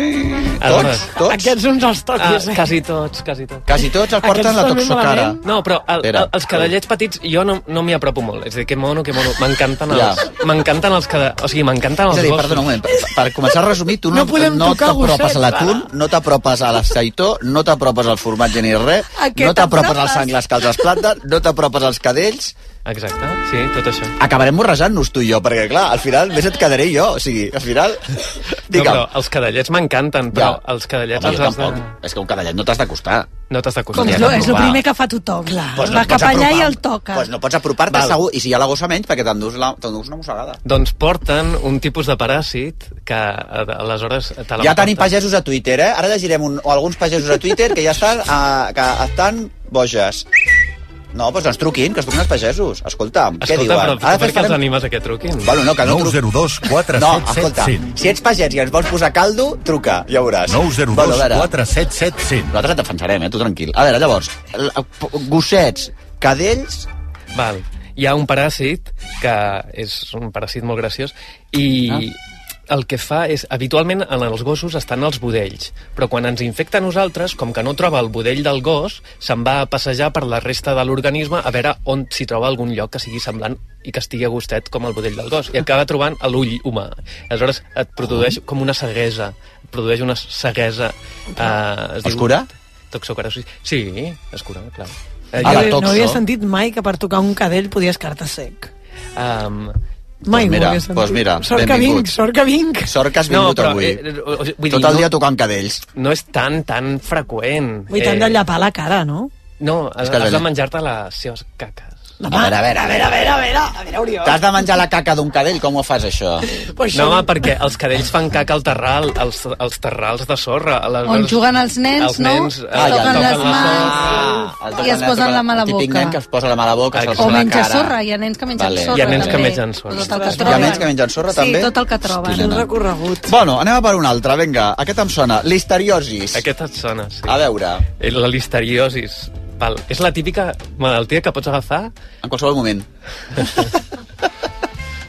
Speaker 5: Tots? Tots?
Speaker 10: Aquests uns els
Speaker 6: Ah,
Speaker 10: toquis, eh?
Speaker 6: quasi tots, quasi tots.
Speaker 5: Quasi tots els porten
Speaker 10: Aquests
Speaker 5: la
Speaker 10: també
Speaker 5: toxocara.
Speaker 10: malament.
Speaker 6: No, però el, el,
Speaker 5: Espera.
Speaker 6: els cadallets petits jo no, no m'hi apropo molt. És a dir, que mono, que mono. M'encanten
Speaker 5: Ja.
Speaker 6: els... M'encanten els cadallets. O sigui, m'encanten
Speaker 5: És
Speaker 6: els
Speaker 5: a dir,
Speaker 6: gossos.
Speaker 5: perdona un moment, per, per començar a resumir, tu no,
Speaker 10: No podem
Speaker 5: no
Speaker 10: tocar
Speaker 5: t'apropes
Speaker 10: gossets,
Speaker 5: a l'atún, no t'apropes a l'aceitó, no t'apropes al formatge ni res,
Speaker 10: A què
Speaker 5: no t'apropes
Speaker 10: t'apropes?
Speaker 5: als sangles que els esplanten, no no t'apropes als cadells,
Speaker 6: Exacte, sí, tot això.
Speaker 5: acabarem morrejant-nos tu i jo, perquè, clar, al final més et quedaré jo, o sigui, al final...
Speaker 6: No,
Speaker 5: Digue'm,
Speaker 6: però els cadallets m'encanten, però
Speaker 5: Ja.
Speaker 6: els cadallets
Speaker 5: Home,
Speaker 6: els
Speaker 5: jo
Speaker 6: has de...
Speaker 5: tampoc. És que un cadallet no t'has d'acostar.
Speaker 6: No t'has de
Speaker 10: Com
Speaker 5: Ja,
Speaker 10: és,
Speaker 6: costar.
Speaker 10: lo,
Speaker 5: no,
Speaker 10: és el
Speaker 5: va.
Speaker 10: primer que fa tothom. Clar,
Speaker 5: Pues no
Speaker 10: Va
Speaker 5: et
Speaker 10: cap
Speaker 5: pots
Speaker 10: allà i
Speaker 5: apropar.
Speaker 10: el toca.
Speaker 5: Pues no pots apropar-te
Speaker 6: Val.
Speaker 5: segur, i si hi ha la gossa menys, perquè t'endús la- t'endús una mossegada.
Speaker 6: Doncs porten un tipus de paràsit que a- aleshores te
Speaker 5: Ja tenim
Speaker 6: l'emportes.
Speaker 5: pagesos a Twitter, eh? Ara llegirem un, o alguns pagesos a Twitter que ja estan, a, que estan boges. No, doncs que ens truquin, que ens truquin els pagesos. Escolta'm, què
Speaker 6: Escolta,
Speaker 5: diuen?
Speaker 6: però
Speaker 5: Ara
Speaker 6: per què els
Speaker 5: farem-
Speaker 6: animes a que truquin?
Speaker 5: Bueno, no, que no truquin.
Speaker 11: 902
Speaker 5: No, escolta,
Speaker 11: 477
Speaker 5: si ets pagès i ens vols posar caldo, truca, ja veuràs.
Speaker 11: 902
Speaker 5: Bueno, a veure,
Speaker 11: 477 100.
Speaker 5: nosaltres et defensarem, eh? Tu tranquil. A veure, llavors, l- p- gossets, cadells...
Speaker 6: Val. Hi ha un paràsit, que és un paràsit molt graciós, i ah. el que fa és... Habitualment en els gossos estan els budells, però quan ens infecta a nosaltres, com que no troba el budell del gos, se'n va a passejar per la resta de l'organisme a veure on s'hi troba algun lloc que sigui semblant i que estigui a gustet com el budell del gos, i acaba trobant a l'ull humà. Aleshores et
Speaker 5: Ah.
Speaker 6: produeix com una ceguesa, et produeix una ceguesa... Eh, es diu-
Speaker 5: Ah. Es cura?
Speaker 6: Toxocorosis. Sí, es cura, clar.
Speaker 5: A
Speaker 6: Eh, jo-
Speaker 5: Ah, la
Speaker 10: jo no
Speaker 5: toxo.
Speaker 10: havia sentit mai que per tocar un cadell podies quedar sec.
Speaker 6: Um,
Speaker 5: Doncs
Speaker 10: Mai ho
Speaker 5: mira,
Speaker 10: havia sentit.
Speaker 5: doncs mira,
Speaker 10: sort que
Speaker 5: benvingut.
Speaker 10: vinc, sort que vinc.
Speaker 5: Sort que has vingut
Speaker 6: però,
Speaker 5: avui.
Speaker 6: eh, eh, o sigui, vull
Speaker 5: Tot
Speaker 6: dir,
Speaker 5: el dia
Speaker 6: no,
Speaker 5: tocant cadells.
Speaker 6: no és tan, tan freqüent.
Speaker 10: Vull tant de llapar la cara, no?
Speaker 6: Eh, No, has,
Speaker 5: que
Speaker 6: has de
Speaker 5: allà-
Speaker 6: menjar-te les seves caques.
Speaker 10: La
Speaker 5: A
Speaker 10: mà.
Speaker 5: veure, a veure, a veure, a veure, a veure, a veure, Oriol. T'has de menjar la caca d'un cadell? Com ho fas, això?
Speaker 10: Pues
Speaker 6: No, home,
Speaker 10: això-
Speaker 6: perquè els cadells fan caca al terral, als, als terrals de sorra. a les-
Speaker 8: On juguen els nens,
Speaker 6: els
Speaker 8: no?
Speaker 6: nens,
Speaker 8: Ah,
Speaker 6: eh, Ah.
Speaker 8: ja, toquen les
Speaker 6: la sorra.
Speaker 8: mans.
Speaker 5: el
Speaker 8: i
Speaker 5: toquen-
Speaker 8: es posen
Speaker 5: toquen-
Speaker 8: la mà a la
Speaker 5: el típic
Speaker 8: boca.
Speaker 5: nen que es posa la mà a la boca, se'ls
Speaker 6: O
Speaker 8: O
Speaker 5: posa la
Speaker 8: menja
Speaker 5: cara.
Speaker 8: sorra, hi ha nens que mengen
Speaker 5: Vale.
Speaker 8: sorra.
Speaker 6: Hi ha nens
Speaker 8: també.
Speaker 6: que mengen sorra.
Speaker 8: Tot el que
Speaker 10: Ostres,
Speaker 8: troben.
Speaker 10: hi ha nens
Speaker 5: que mengen sorra,
Speaker 8: Sí,
Speaker 5: també?
Speaker 8: tot el que troben.
Speaker 10: Quin recorregut.
Speaker 5: Mm. Bueno, anem a per una altra, vinga. Aquest em sona. Listeriosis.
Speaker 6: Aquesta et sona, sí.
Speaker 5: A veure,
Speaker 6: Eh, La listeriosis. Val. És la típica malaltia que pots agafar
Speaker 5: en qualsevol moment.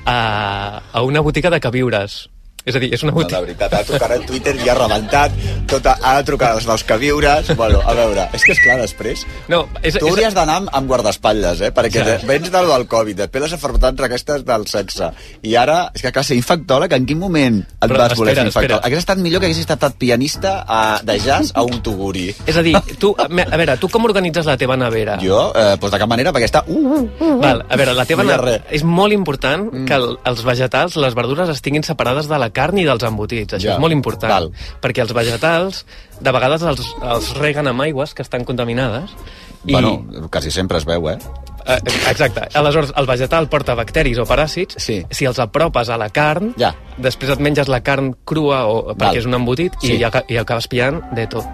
Speaker 6: a, a una botiga de queviures. És a dir, és una
Speaker 5: No, la
Speaker 6: botiga...
Speaker 5: veritat, ara trucarà a Twitter i ha rebentat. Tot, ara trucarà els dels que viures. Bueno, a veure, és que és clar, després...
Speaker 6: No, és,
Speaker 5: Tu
Speaker 6: és,
Speaker 5: hauries d'anar amb, amb guardaespatlles, eh? Perquè
Speaker 6: Ja.
Speaker 5: ja. vens del, del Covid, després les enfermedats aquestes del sexe. I ara, és que clar, ser infectòleg, en quin moment et
Speaker 6: Però
Speaker 5: Però, vas voler
Speaker 6: espera,
Speaker 5: ser infectòleg?
Speaker 6: espera.
Speaker 5: Hauria estat millor que haguessis estat pianista a, de jazz a un tuguri.
Speaker 6: és a dir, tu, a veure, tu com organitzes la teva nevera?
Speaker 5: Jo, eh, doncs de cap manera, perquè està... Uh, uh, uh,
Speaker 6: Val, a veure, la teva...
Speaker 5: No hi ha
Speaker 6: Na...
Speaker 5: res.
Speaker 6: És molt important mm. que el, els vegetals, les verdures, es tinguin separades de la carn i dels embotits. Això
Speaker 5: Ja,
Speaker 6: ja. és molt important.
Speaker 5: val.
Speaker 6: Perquè els vegetals, de vegades els, els reguen amb aigües que estan contaminades.
Speaker 5: I... Bueno, quasi sempre es veu, eh?
Speaker 6: Eh, Exacte. Aleshores, el vegetal porta bacteris o paràsits.
Speaker 5: Sí.
Speaker 6: Si els apropes a la carn,
Speaker 5: Ja.
Speaker 6: després et menges la carn crua o, perquè
Speaker 5: Val.
Speaker 6: és un embotit sí.
Speaker 5: Sí.
Speaker 6: i, aca- i acabes pillant de tot.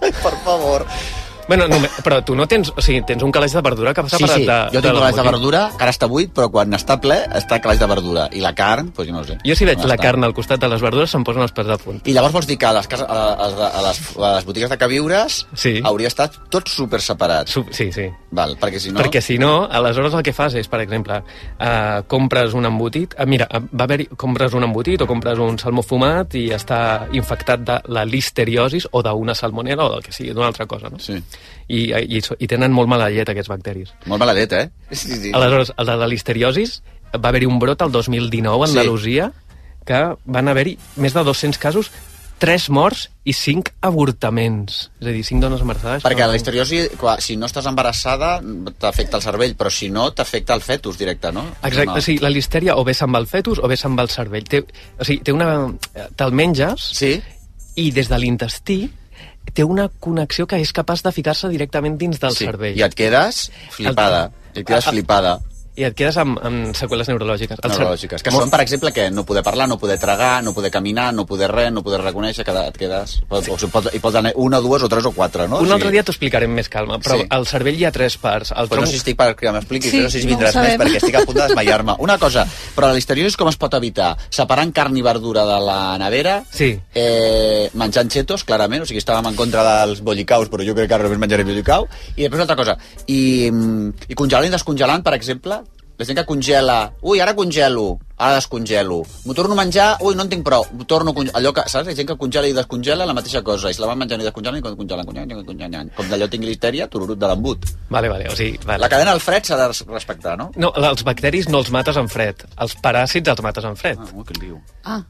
Speaker 5: Per favor.
Speaker 6: Bueno, no, però tu no tens... O sigui, tens un calaix de verdura que passa
Speaker 5: Sí,
Speaker 6: per
Speaker 5: sí,
Speaker 6: de,
Speaker 5: jo tinc calaix de
Speaker 6: l'embotit.
Speaker 5: verdura, que ara està buit, però quan està ple, està calaix de verdura. I la carn, doncs jo no ho sé.
Speaker 6: Jo si veig
Speaker 5: On
Speaker 6: la
Speaker 5: està?
Speaker 6: carn al costat de les verdures se'm posen els pèls de punta.
Speaker 5: I llavors vols dir que a les, cases, a, a, a, les, a les botigues de queviures
Speaker 6: Sí.
Speaker 5: hauria estat tot super separat.
Speaker 6: Su- Sí, sí.
Speaker 5: Val, perquè si no...
Speaker 6: No? Perquè si no, aleshores el que fas és, per exemple, eh, compres un embotit, eh, mira, eh, va haver compres un embotit o compres un salmó fumat i està infectat de la listeriosis o d'una salmonella o del que sigui, d'una altra cosa, no?
Speaker 5: Sí.
Speaker 6: I, i, I tenen molt mala llet aquests bacteris.
Speaker 5: Molt maladet, eh? Sí, sí.
Speaker 6: Aleshores, el de la listeriosis va haver-hi un brot el 2019 a
Speaker 5: Sí.
Speaker 6: Andalusia que van haver-hi més de 200 casos, 3 morts i 5 avortaments. És a dir, 5 dones embarassades.
Speaker 5: Perquè
Speaker 6: que
Speaker 5: la
Speaker 6: van-
Speaker 5: listeriosi, clar, si no estàs embarassada, t'afecta el cervell, però si no, t'afecta el fetus directe, no?
Speaker 6: Exacte,
Speaker 5: no.
Speaker 6: no. sí, la listèria o bé se'n va al fetus o bé se'n va al cervell. Té, o sigui, té una... Te'l menges
Speaker 5: Sí?
Speaker 6: i des de l'intestí té una connexió que és capaç de ficar-se directament dins del
Speaker 5: sí.
Speaker 6: cervell.
Speaker 5: I et quedes flipada. I et quedes
Speaker 6: Ah, ah.
Speaker 5: flipada.
Speaker 6: I et quedes amb, amb seqüeles neurològiques. El cer-
Speaker 5: Neurològiques. Que
Speaker 6: Molt-
Speaker 5: són, per exemple, que no poder parlar, no poder tragar, no poder caminar, no poder res, no poder reconèixer, que et quedes... O, o, pot, hi pot anar una, dues o tres o quatre, no? O
Speaker 6: Un
Speaker 5: sigui,
Speaker 6: altre dia t'ho explicarem més calma, però
Speaker 5: Sí.
Speaker 6: sí. al cervell hi ha tres parts. El
Speaker 5: Però no sé si estic per que m'expliquis, sí,
Speaker 8: Sí,
Speaker 5: no sé si
Speaker 8: no ho
Speaker 5: vindràs més,
Speaker 8: sabem.
Speaker 5: perquè estic a punt de desmaiar-me. Una cosa, però la listeriosi com es pot evitar? Separant carn i verdura de la nevera,
Speaker 6: Sí.
Speaker 5: eh, menjant xetos, clarament, o sigui, estàvem en contra dels bollicaus, però jo crec que ara només menjaré bollicau, i després una altra cosa, i, mm, i congelant i descongelant, per exemple, la gent que congela, ui, ara congelo, ara descongelo, m'ho torno a menjar, ui, no en tinc prou, m'ho torno a congelar, allò que, saps, la gent que congela i descongela, la mateixa cosa, i se la van menjant i descongelant, i congelant, congelant, congelant, com d'allò tingui listèria, tururut de l'embut.
Speaker 6: Vale, vale, o sigui, vale.
Speaker 5: La cadena del fred s'ha de res- respectar, no?
Speaker 6: No, els bacteris no els mates amb fred. Els paràsits els mates amb fred.
Speaker 5: Ah, que lío.
Speaker 8: Ah,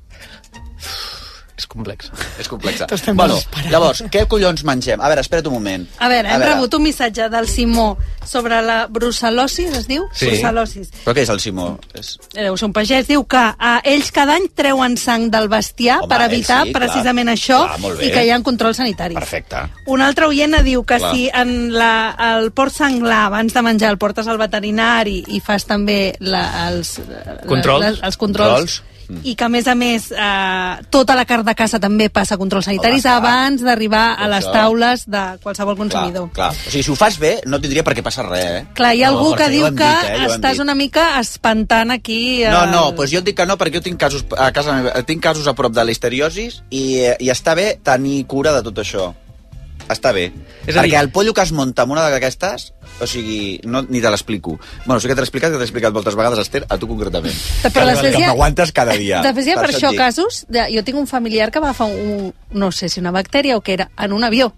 Speaker 6: És complex.
Speaker 5: És complexa.
Speaker 10: T'estem
Speaker 5: Bueno,
Speaker 10: desesperant.
Speaker 5: llavors, què collons mengem? A veure, espera't un moment.
Speaker 8: a veure, hem rebut un missatge del Simó sobre la brucel·losis, es diu?
Speaker 5: Sí.
Speaker 8: Brucel·losis.
Speaker 5: Però què és el Simó? És...
Speaker 8: Deu ser un pagès. Diu que a ells cada any treuen sang del bestiar
Speaker 5: Home,
Speaker 8: per evitar
Speaker 5: eh, sí, clar.
Speaker 8: precisament això
Speaker 5: Clar, molt bé.
Speaker 8: i que hi ha controls sanitaris.
Speaker 5: Perfecte.
Speaker 8: Un altre oient diu que
Speaker 5: Clar.
Speaker 8: si en la, el porc senglar abans de menjar el portes al veterinari i fas també la, els, la-
Speaker 6: Controls.
Speaker 8: la- els controls
Speaker 5: Controls.
Speaker 8: i que a més a més eh, tota la carn de caça també passa controls sanitaris
Speaker 5: clar.
Speaker 8: abans d'arribar a
Speaker 5: Tot
Speaker 8: les
Speaker 5: això.
Speaker 8: taules de qualsevol consumidor.
Speaker 5: Clar, clar. O sigui, si ho fas bé, no tindria per què passar res, eh?
Speaker 8: Clar, hi ha
Speaker 5: No,
Speaker 8: algú que
Speaker 5: Jorge, ja
Speaker 8: diu
Speaker 5: ho hem
Speaker 8: que
Speaker 5: dit, eh, ja ho hem
Speaker 8: estàs
Speaker 5: dit.
Speaker 8: una mica espantant aquí... eh,
Speaker 5: No,
Speaker 8: el-
Speaker 5: no, doncs jo et dic que no, perquè jo tinc casos a casa meva, tinc casos a prop de l'histeriosis i, i està bé tenir cura de tot això. Està bé.
Speaker 6: És
Speaker 5: És
Speaker 6: a
Speaker 5: perquè
Speaker 6: dir-
Speaker 5: el pollo que es munta amb una d'aquestes, o sigui, no, ni te l'explico. Bueno, sí que t'he explicat, que t'he explicat moltes vegades, Esther, a tu concretament.
Speaker 8: Però
Speaker 5: que,
Speaker 8: després
Speaker 5: que
Speaker 8: hi ha-
Speaker 5: m'aguantes cada dia.
Speaker 8: De fet, hi ha per això
Speaker 5: et dic.
Speaker 8: casos... De, jo tinc un familiar que va agafar un, no sé si una bactèria o què era, en un avió.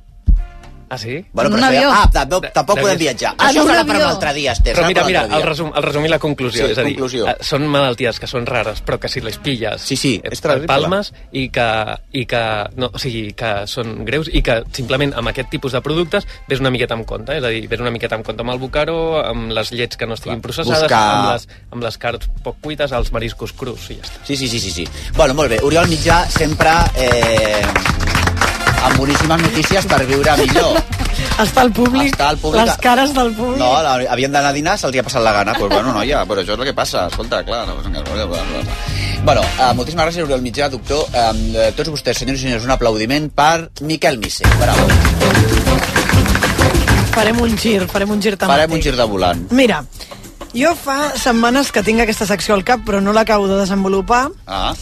Speaker 6: Ah, sí?
Speaker 5: Bueno,
Speaker 8: en
Speaker 5: però
Speaker 8: un
Speaker 5: això ja-
Speaker 8: avió.
Speaker 5: Ah, tampoc,
Speaker 6: De-
Speaker 5: tampoc
Speaker 6: de-
Speaker 5: podem viatjar.
Speaker 8: En
Speaker 5: Això
Speaker 8: un
Speaker 5: serà per un
Speaker 8: avió.
Speaker 5: altre dia, Esther.
Speaker 6: Però
Speaker 5: serà
Speaker 6: mira,
Speaker 5: per un
Speaker 6: mira,
Speaker 5: altre
Speaker 6: el
Speaker 5: dia.
Speaker 6: resum, el resum i la conclusió.
Speaker 5: Sí,
Speaker 6: és a dir,
Speaker 5: conclusió.
Speaker 6: eh, són malalties que són rares, però que si les pilles
Speaker 5: Sí, sí,
Speaker 6: et,
Speaker 5: és
Speaker 6: et
Speaker 5: terrible.
Speaker 6: palmes i que, i que, no, o sigui, que són greus i que simplement amb aquest tipus de productes ves una miqueta amb compte. eh? És a dir, ves una miqueta amb compte amb el bucaro, amb les llets que no
Speaker 5: Clar,
Speaker 6: estiguin processades,
Speaker 5: buscar-
Speaker 6: amb, les, amb les carns poc cuites, els mariscos crus i ja està.
Speaker 5: Sí, sí, sí, sí, sí. Bueno, molt bé. Oriol Mitjà sempre eh, amb boníssimes notícies per viure millor.
Speaker 10: Està al públic,
Speaker 5: Està al públic.
Speaker 10: les cares del públic.
Speaker 5: No, la, havien d'anar a dinar, se'ls hi ha passat la gana. Doncs pues bueno, noia, però això és el que passa. Escolta, clar... No, bueno, eh, moltíssimes gràcies, Oriol Mitjà, doctor. Eh, eh, tots vostès, senyors i senyors, un aplaudiment per Miquel Misse. Bravo.
Speaker 10: Farem un gir, farem un gir temàtic.
Speaker 5: Farem un gir de volant.
Speaker 10: Mira, jo fa setmanes que tinc aquesta secció al cap, però no l'acabo de desenvolupar,
Speaker 5: Ah,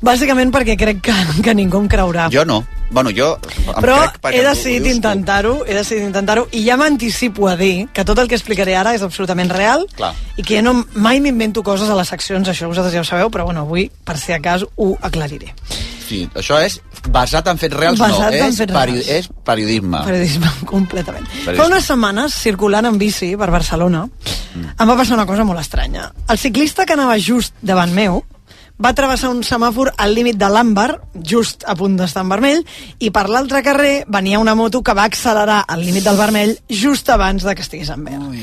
Speaker 10: bàsicament perquè crec que, que ningú em creurà.
Speaker 5: jo no. Bueno, jo... em
Speaker 10: però
Speaker 5: crec perquè
Speaker 10: he
Speaker 5: ho- ho
Speaker 10: decidit
Speaker 5: dius tu.
Speaker 10: intentar-ho, he decidit intentar-ho, i ja m'anticipo a dir que tot el que explicaré ara és absolutament real,
Speaker 5: Clar.
Speaker 10: i que ja no, mai m'invento coses a les seccions, això vosaltres ja ho sabeu, però bueno, avui, per si de cas, ho aclariré.
Speaker 5: Sí, això és basat en fets reals, no,
Speaker 10: Basat en
Speaker 5: és,
Speaker 10: fets reals.
Speaker 5: és periodisme.
Speaker 10: Periodisme, completament.
Speaker 5: Periodisme.
Speaker 10: Fa unes setmanes, circulant en bici per Barcelona, em va passar una cosa molt estranya. El ciclista que anava just davant meu va travessar un semàfor al límit de l'àmbar, just a punt d'estar en vermell, i per l'altre carrer venia una moto que va accelerar al límit del vermell just abans de que estigués en verd.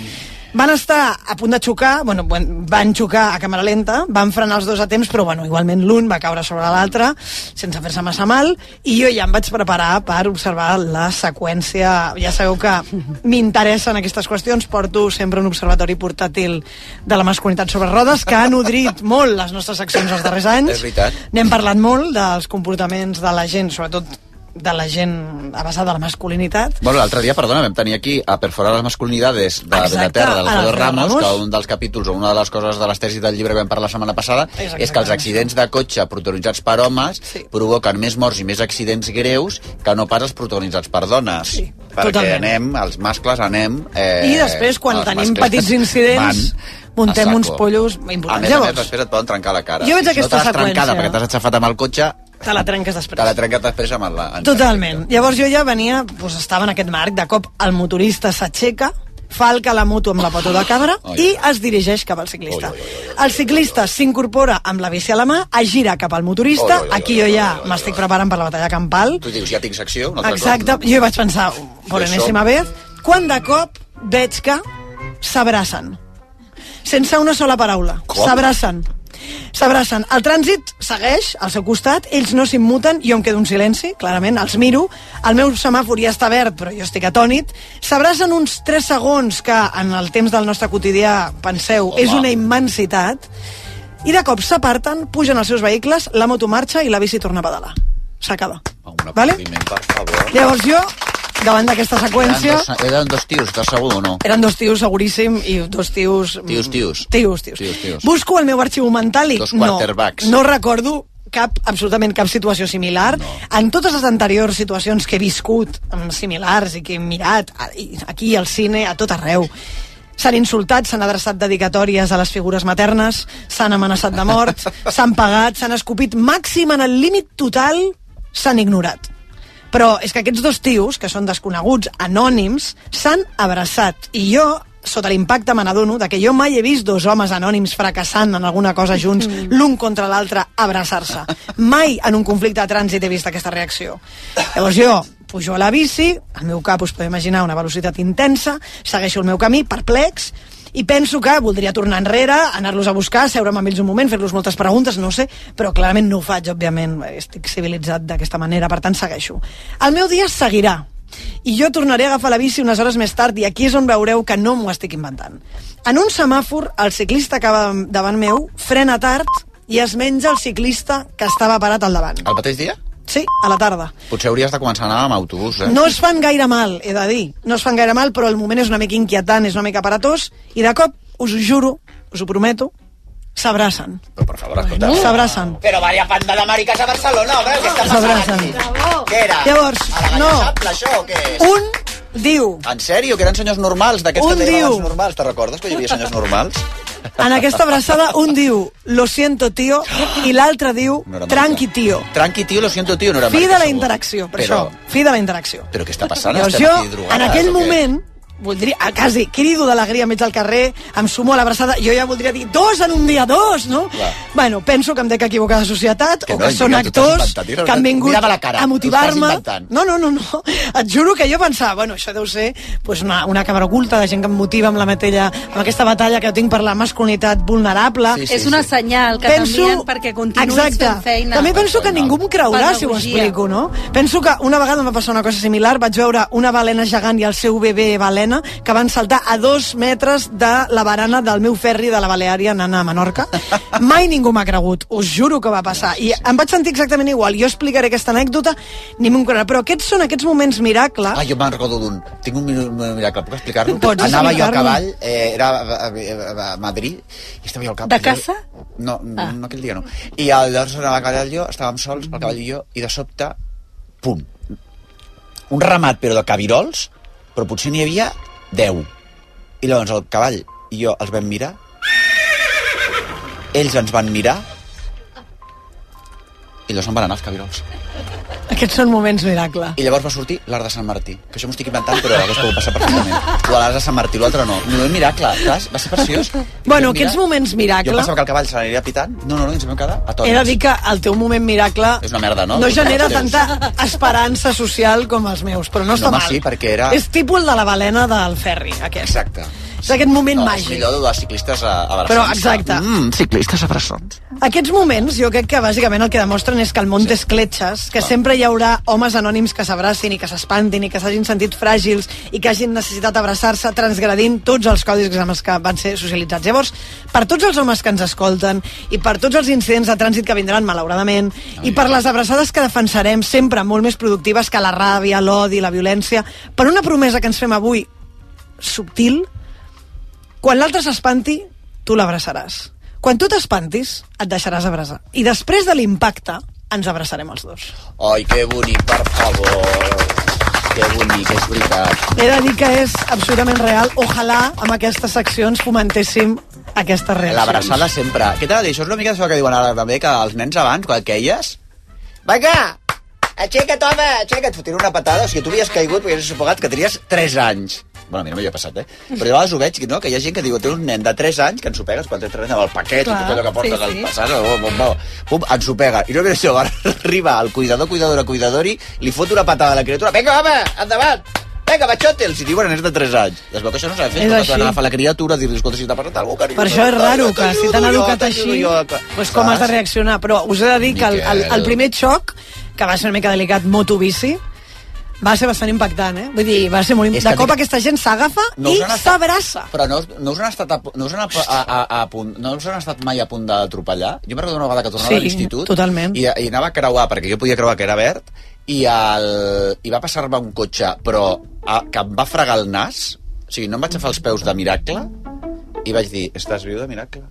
Speaker 10: Van estar a punt de xocar, bueno, van van xocar a càmera lenta, van frenar els dos a temps, però bueno, igualment l'un va caure sobre l'altre sense fer-se massa mal, i jo ja em vaig preparar per observar la seqüència. Ja sabeu que m'interessen aquestes qüestions, porto sempre un observatori portàtil de la masculinitat sobre rodes, que ha nodrit molt les nostres seccions els darrers anys.
Speaker 5: És veritat.
Speaker 10: N'hem parlat molt dels comportaments de la gent, sobretot de la gent a basada de la masculinitat,
Speaker 5: Bueno, l'altre dia, perdona, vam tenir aquí a perforar les masculinidades de
Speaker 10: Exacte,
Speaker 5: Bellaterra, de
Speaker 10: a
Speaker 5: l'Alfredo
Speaker 10: l'Alfredo
Speaker 5: Ramos,
Speaker 10: Ramos.
Speaker 5: que un dels capítols o una de les coses de les tesis del llibre que vam parlar la setmana passada
Speaker 10: Exacte.
Speaker 5: és que els accidents de cotxe protagonitzats per homes
Speaker 10: Sí.
Speaker 5: provoquen més morts i més accidents greus que no pas els protagonitzats per dones.
Speaker 10: Sí,
Speaker 5: perquè
Speaker 10: totalment.
Speaker 5: anem, els mascles anem... Eh,
Speaker 10: I després, quan
Speaker 5: els
Speaker 10: tenim
Speaker 5: mascles
Speaker 10: petits incidents,
Speaker 5: van
Speaker 10: muntem
Speaker 5: a saco.
Speaker 10: uns pollos importants.
Speaker 5: A més, a més,
Speaker 10: Llavors-
Speaker 5: després et poden trencar la cara.
Speaker 10: Jo veig
Speaker 5: Si
Speaker 10: aquesta
Speaker 5: no te l'has
Speaker 10: seqüència.
Speaker 5: trencada perquè t'has aixafat amb el cotxe,
Speaker 10: te la trenques després.
Speaker 5: te l'ha trencat després amb la... en-
Speaker 10: Totalment. Llavors jo ja venia, doncs estava en aquest marc, de cop el motorista s'aixeca, falca la moto amb la pató de cabra
Speaker 5: Ai.
Speaker 10: i es dirigeix cap al
Speaker 5: Oh,
Speaker 10: ciclista. El ciclista s'incorpora amb la bici a la mà, es gira cap al motorista,
Speaker 5: Oi, oi, oi,
Speaker 10: aquí
Speaker 5: oi,
Speaker 10: jo
Speaker 5: oi,
Speaker 10: ja
Speaker 5: oi, oi,
Speaker 10: m'estic
Speaker 5: oi.
Speaker 10: preparant per la batalla campal,
Speaker 5: Tu dius, ja tinc secció, un altre
Speaker 10: Exacte,
Speaker 5: cop, no?
Speaker 10: jo hi vaig pensar "Oh, per
Speaker 5: Això.
Speaker 10: enèsima vez, quan de cop veig que s'abracen. Sense una sola paraula.
Speaker 5: Com?
Speaker 10: S'abracen. S'abracen. El trànsit segueix al seu costat, ells no s'immuten, jo em quedo en silenci, clarament, els miro, el meu semàfor ja està verd, però jo estic atònit. S'abracen uns 3 segons que, en el temps del nostre quotidià, penseu,
Speaker 5: Home.
Speaker 10: és una immensitat, i de cop s'aparten, pugen als seus vehicles, la moto marxa i la bici torna a pedalar. S'acaba.
Speaker 5: Un
Speaker 10: Vale?
Speaker 5: aplaudiment, per favor.
Speaker 10: Llavors jo, davant d'aquesta
Speaker 5: Eren
Speaker 10: seqüència,
Speaker 5: dos, eren dos tios, estàs segur o no?
Speaker 10: eren dos tios seguríssim i dos tios... mm,
Speaker 5: Tios, tios.
Speaker 10: Tios, tios.
Speaker 5: Tios, tios.
Speaker 10: Busco el meu arxiu mental i
Speaker 5: Dos
Speaker 10: no,
Speaker 5: quarterbacks.
Speaker 10: no recordo cap, absolutament cap situació similar. No. En totes les anteriors situacions que he viscut, mm, similars i que he mirat, a- i aquí, al cine, a tot arreu, S'han insultat, s'han adreçat dedicatòries a les figures maternes, s'han amenaçat de mort, s'han pagat, s'han escopit màxim en el límit total, s'han ignorat. Però és que aquests dos tios, que són desconeguts, anònims, s'han abraçat. I jo, sota l'impacte, me n'adono de que jo mai he vist dos homes anònims fracassant en alguna cosa junts, l'un contra l'altre, abraçar-se. Mai en un conflicte de trànsit he vist aquesta reacció. Llavors jo, pujo a la bici, al meu cap us podeu imaginar una velocitat intensa, segueixo el meu camí, perplex, i penso que voldria tornar enrere, anar-los a buscar, seure'm amb ells un moment, fer-los moltes preguntes, no ho sé, però clarament no ho faig, òbviament, estic civilitzat d'aquesta manera, per tant segueixo. El meu dia seguirà, i jo tornaré a agafar la bici unes hores més tard i aquí és on veureu que no m'ho estic inventant. En un semàfor, el ciclista que va davant meu frena tard i es menja el ciclista que estava parat al davant.
Speaker 5: Al mateix dia?
Speaker 10: Sí, a la tarda.
Speaker 5: Potser hauries de començar a anar amb autobús, eh?
Speaker 10: No es fan gaire mal, he de dir. No es fan gaire mal, però el moment és una mica inquietant, és una mica aparatós, i de cop, us ho juro, us ho prometo, s'abracen.
Speaker 5: Però, per favor, escolta.
Speaker 10: S'abracen.
Speaker 5: Però vaya panda de maricas a Barcelona, home, què està
Speaker 10: S'abracen.
Speaker 5: passant aquí? Què era?
Speaker 10: Llavors,
Speaker 5: a la
Speaker 10: no.
Speaker 5: Gallissable, això, o què és?
Speaker 10: Un diu,
Speaker 5: En sèrio, que eren senyors normals, d'aquests
Speaker 10: Un
Speaker 5: que deien
Speaker 10: diu.
Speaker 5: abans normals, te'n recordes que hi havia senyors normals?
Speaker 10: en aquesta abraçada, un diu, lo siento, tío, i l'altre diu,
Speaker 5: No era marica.
Speaker 10: tranqui, tío.
Speaker 5: Tranqui, tio, lo siento, tio, no era
Speaker 10: Fi
Speaker 5: maricas,
Speaker 10: de la
Speaker 5: segur.
Speaker 10: interacció, per
Speaker 5: Però-
Speaker 10: això. Fi de la interacció.
Speaker 5: Però què està passant?
Speaker 10: Llavors
Speaker 5: Estem
Speaker 10: jo,
Speaker 5: aquí drogades,
Speaker 10: en
Speaker 5: o
Speaker 10: aquell
Speaker 5: què?
Speaker 10: moment, voldria, a quasi, crido d'alegria enmig del carrer, em sumo a l'abraçada, jo ja voldria dir dos en un dia, dos, no?
Speaker 5: Clar.
Speaker 10: Bueno, penso que em dec equivocar de societat,
Speaker 5: Que
Speaker 10: o
Speaker 5: no,
Speaker 10: que són
Speaker 5: mira, t'ho estàs
Speaker 10: actors
Speaker 5: inventant, mira,
Speaker 10: que han vingut
Speaker 5: mira-me la cara,
Speaker 10: a
Speaker 5: t'ho
Speaker 10: motivar-me.
Speaker 5: estàs inventant.
Speaker 10: No, no, no, no. Et juro que jo pensava, bueno, això deu ser pues, una, una càmera oculta de gent que em motiva amb la matella, amb aquesta batalla que tinc per la masculinitat vulnerable.
Speaker 5: Sí, sí,
Speaker 8: és una
Speaker 5: sí.
Speaker 8: senyal que t'envien perquè continuïs
Speaker 10: exacte.
Speaker 8: fent feina.
Speaker 10: També penso que
Speaker 5: Fenomenal.
Speaker 10: ningú em creurà si ho
Speaker 8: Pedagogia.
Speaker 10: explico, no? Penso que una vegada em va passar una cosa similar, vaig veure una balena gegant i el seu bebè balena que van saltar a dos metres de la barana del meu ferri de la Baleària anant a Menorca. Mai ningú m'ha cregut, us juro que va passar. I em vaig sentir exactament igual. Jo explicaré aquesta anècdota, ni m'ho creurà. Però aquests són aquests moments miracle.
Speaker 5: Ah, jo me'n recordo d'un. Tinc un minu- un miracle, puc explicar-lo?
Speaker 10: Pots
Speaker 5: Anava jo a
Speaker 10: explicar-lo.
Speaker 5: cavall, eh, era a, a, a, a Madrid, i estava jo al cap.
Speaker 8: De caça?
Speaker 5: No, ah. no aquell dia no. I al- llavors anava a cavall jo, estàvem sols, el cavall i jo, i de sobte, pum, un ramat, però de cabirols, però potser n'hi havia 10. I llavors el cavall i jo els vam mirar, ells ens van mirar, i llavors em van anar els cabirols.
Speaker 10: Aquests són moments miracle.
Speaker 5: I llavors va sortir l'art de Sant Martí, que això m'ho estic inventant, però hagués pogut passar perfectament. O l'art de Sant Martí, l'altre no. No és miracle, saps? Va ser preciós.
Speaker 10: Bueno,
Speaker 5: Jo mira-
Speaker 10: aquests moments miracle-
Speaker 5: Jo pensava que el cavall se l'aniria pitant. No, no, no, ens vam quedar a tones.
Speaker 10: He de dir que el teu moment miracle
Speaker 5: És una merda, no?
Speaker 10: no genera
Speaker 5: Tots els
Speaker 10: tanta esperança social com els meus, però no està
Speaker 5: home,
Speaker 10: mal.
Speaker 5: sí, perquè era-
Speaker 10: És tipus el de la balena del ferri, aquest.
Speaker 5: Exacte.
Speaker 10: És aquest moment
Speaker 5: No, és
Speaker 10: màgic.
Speaker 5: millor de dels ciclistes a- abraçant-se.
Speaker 10: Però, exacte.
Speaker 5: Mm, ciclistes abraçons.
Speaker 10: Aquests moments, jo crec que bàsicament el que demostren és que el món té escletxes, que sempre hi haurà homes anònims que s'abracin i que s'espantin i que s'hagin sentit fràgils i que hagin necessitat abraçar-se transgredint tots els codis amb els que van ser socialitzats. Llavors, per tots els homes que ens escolten i per tots els incidents de trànsit que vindran, malauradament, i per les abraçades que defensarem sempre molt més productives que la ràbia, l'odi, la violència, per una promesa que ens fem avui subtil, quan l'altre s'espanti, tu l'abraçaràs. Quan tu t'espantis, et deixaràs abraçar. I després de l'impacte, ens abraçarem els dos.
Speaker 5: Ai, que bonic, per favor. Que bonic, és veritat.
Speaker 10: He de dir que és absolutament real. Ojalà amb aquestes seccions fomentéssim aquestes reaccions.
Speaker 5: L'abraçada sempre. Què t'ha de dir? Això és una mica això que diuen ara també, que els nens abans, quan queies... Vinga! Aixeca't, home! Aixeca't! Fotir una patada, o sigui, tu havies caigut perquè havies supogat que tenies 3 anys. Bueno, a mi no m'havia passat, eh? Però jo a vegades ho veig, no? que hi ha gent que diu, té un nen de 3 anys que ensopegues quan tens 3 anys amb el paquet Clar,
Speaker 10: Clar,
Speaker 5: i tot allò que portes
Speaker 10: sí,
Speaker 5: sí,
Speaker 10: sí.
Speaker 5: al passar, oh, oh, oh, oh, pum, ensopega. I no veus això, arriba el cuidador, cuidadora, cuidadori, li fot una patada a la criatura, vinga, home, endavant! Vinga, machote, els hi diuen nens de 3 anys. I es veu que això no s'ha de fer,
Speaker 10: És
Speaker 5: és quan
Speaker 10: així.
Speaker 5: agafa la criatura, diu, escolta, si t'ha passat alguna cosa,
Speaker 10: Per això és raro que si t'han educat així, doncs com has de
Speaker 5: reaccionar?
Speaker 10: reaccionar. Però us he de dir que el, el,
Speaker 5: Miquel.
Speaker 10: el primer xoc, que va ser una mica delicat, moto-bici, va ser bastant impactant, eh? Vull dir, va ser molt...
Speaker 5: És
Speaker 10: imp-
Speaker 5: que
Speaker 10: De cop
Speaker 5: dic-
Speaker 10: aquesta gent s'agafa
Speaker 5: No us
Speaker 10: i
Speaker 5: han estat-
Speaker 10: s'abraça.
Speaker 5: Però no, us- no us han estat, a, pu- no us han, a, a, a, a punt, no us han estat mai a punt d'atropellar? Jo me'n recordo una vegada que tornava
Speaker 10: Sí,
Speaker 5: a l'institut
Speaker 10: totalment.
Speaker 5: i, i anava a creuar, perquè jo podia creuar que era verd, i, el, i va passar-me un cotxe, però a, que em va fregar el nas, o sigui, no em vaig agafar els peus de miracle, i vaig dir, estàs viu de miracle?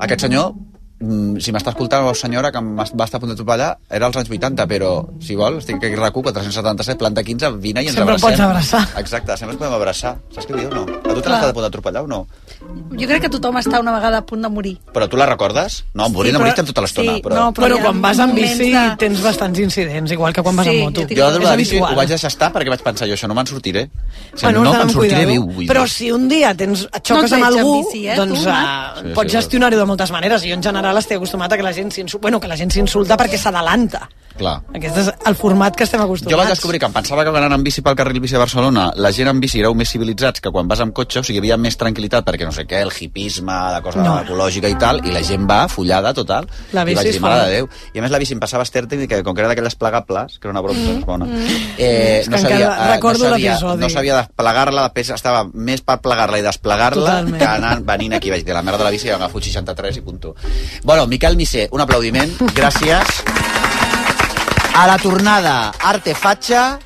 Speaker 5: Aquest senyor, mm, si m'està escoltant la senyora que em va estar a punt d'atropellar, era als anys 80, però, si vol, estic aquí a RAC1, 477, planta 15, vine i ens
Speaker 10: Sempre em
Speaker 5: abracem.
Speaker 10: pots abraçar.
Speaker 5: Exacte, sempre ens podem abraçar. Saps què diu o no? A tu t'has estat a punt d'atropellar o no?
Speaker 8: jo crec que tothom està una vegada a punt de morir.
Speaker 5: Però tu la recordes? No, morir sí, no moriste tota l'estona.
Speaker 8: sí,
Speaker 5: però...
Speaker 8: no,
Speaker 10: Però,
Speaker 8: hi ha
Speaker 10: quan vas amb
Speaker 8: moments
Speaker 10: bici
Speaker 8: de-
Speaker 10: tens bastants incidents, igual que quan vas
Speaker 8: Sí,
Speaker 10: amb moto.
Speaker 8: jo tinc-
Speaker 5: Jo de
Speaker 10: És
Speaker 5: la bici
Speaker 10: habitual.
Speaker 5: ho vaig deixar estar perquè vaig pensar, jo això no me'n sortiré. O sigui, no
Speaker 10: Bueno, has d'anar
Speaker 5: me'n
Speaker 10: amb
Speaker 5: sortiré
Speaker 10: cuidado.
Speaker 5: viu. Vull dir.
Speaker 10: Però si un dia tens, et xoques
Speaker 8: No et
Speaker 10: amb
Speaker 8: veig amb
Speaker 10: algú,
Speaker 8: bici, eh,
Speaker 10: doncs
Speaker 8: tu,
Speaker 10: uh,
Speaker 8: Marc?
Speaker 5: Sí,
Speaker 10: pots
Speaker 5: sí,
Speaker 10: gestionar-ho de moltes maneres. Jo, en general, estic acostumat a que la gent s'insulta bueno, que la gent s'insulta perquè s'adalanta.
Speaker 5: Clar.
Speaker 10: Aquest és el format que estem acostumats.
Speaker 5: Jo vaig descobrir que em pensava que anant amb bici pel carril bici de Barcelona la gent amb bici éreu més civilitzats que quan vas amb cotxe, o sigui, hi havia més tranquil·litat perquè no sé què, el hipisme, la cosa
Speaker 10: No.
Speaker 5: no. ecològica i tal, i la gent va fullada total.
Speaker 10: La bici
Speaker 5: I vaig
Speaker 10: és
Speaker 5: dir, mare
Speaker 10: fora.
Speaker 5: de Déu. I a més la bici em passava estèrtic que com que era d'aquelles plegables, que era una broma mm. bona, eh,
Speaker 10: Mm. És
Speaker 5: no
Speaker 10: que
Speaker 5: sabia,
Speaker 10: encara
Speaker 5: eh,
Speaker 10: recordo
Speaker 5: no sabia,
Speaker 10: l'episodi.
Speaker 5: no sabia desplegar-la, després estava més per plegar-la i desplegar-la
Speaker 10: Totalment.
Speaker 5: que anant, venint aquí. Vaig dir, la merda de la bici, agafo un 63 i punto. Bueno, Miquel Missé, un aplaudiment. Gràcies. A la tornada, arte fatxa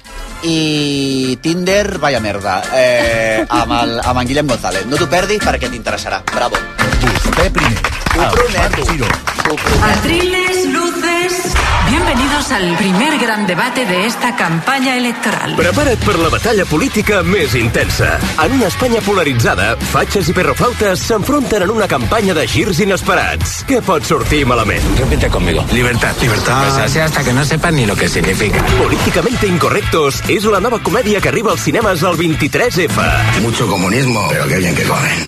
Speaker 5: i Tinder, vaya merda, eh, amb, el, amb en Guillem González. No t'ho perdis perquè t'interessarà. Bravo.
Speaker 9: Vostè primer.
Speaker 5: Ho
Speaker 9: Al Marc
Speaker 5: prometo.
Speaker 9: Giró.
Speaker 5: Ho prometo.
Speaker 11: Atriles, luces. Bienvenidos al primer gran debate de esta campaña electoral.
Speaker 9: Prepara't per la batalla política més intensa. En una Espanya polaritzada, fatxes i perrofautes s'enfronten en una campanya de girs inesperats. Què pot sortir malament?
Speaker 7: Repite conmigo. Libertad. Libertad. Pues así hasta que no sepan ni lo que significa.
Speaker 9: Políticamente Incorrectos és la nova comèdia que arriba als cinemes el 23F.
Speaker 7: Mucho comunismo, pero qué bien que comen.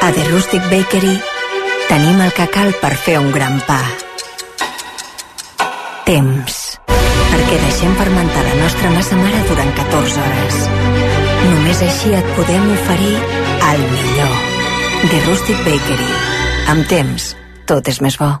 Speaker 11: A The Rustic Bakery tenim el que cal per fer un gran pa. Temps. Perquè deixem fermentar la nostra massa mare durant 14 hores. Només així et podem oferir el millor. The Rustic Bakery. Amb temps, tot és més bo.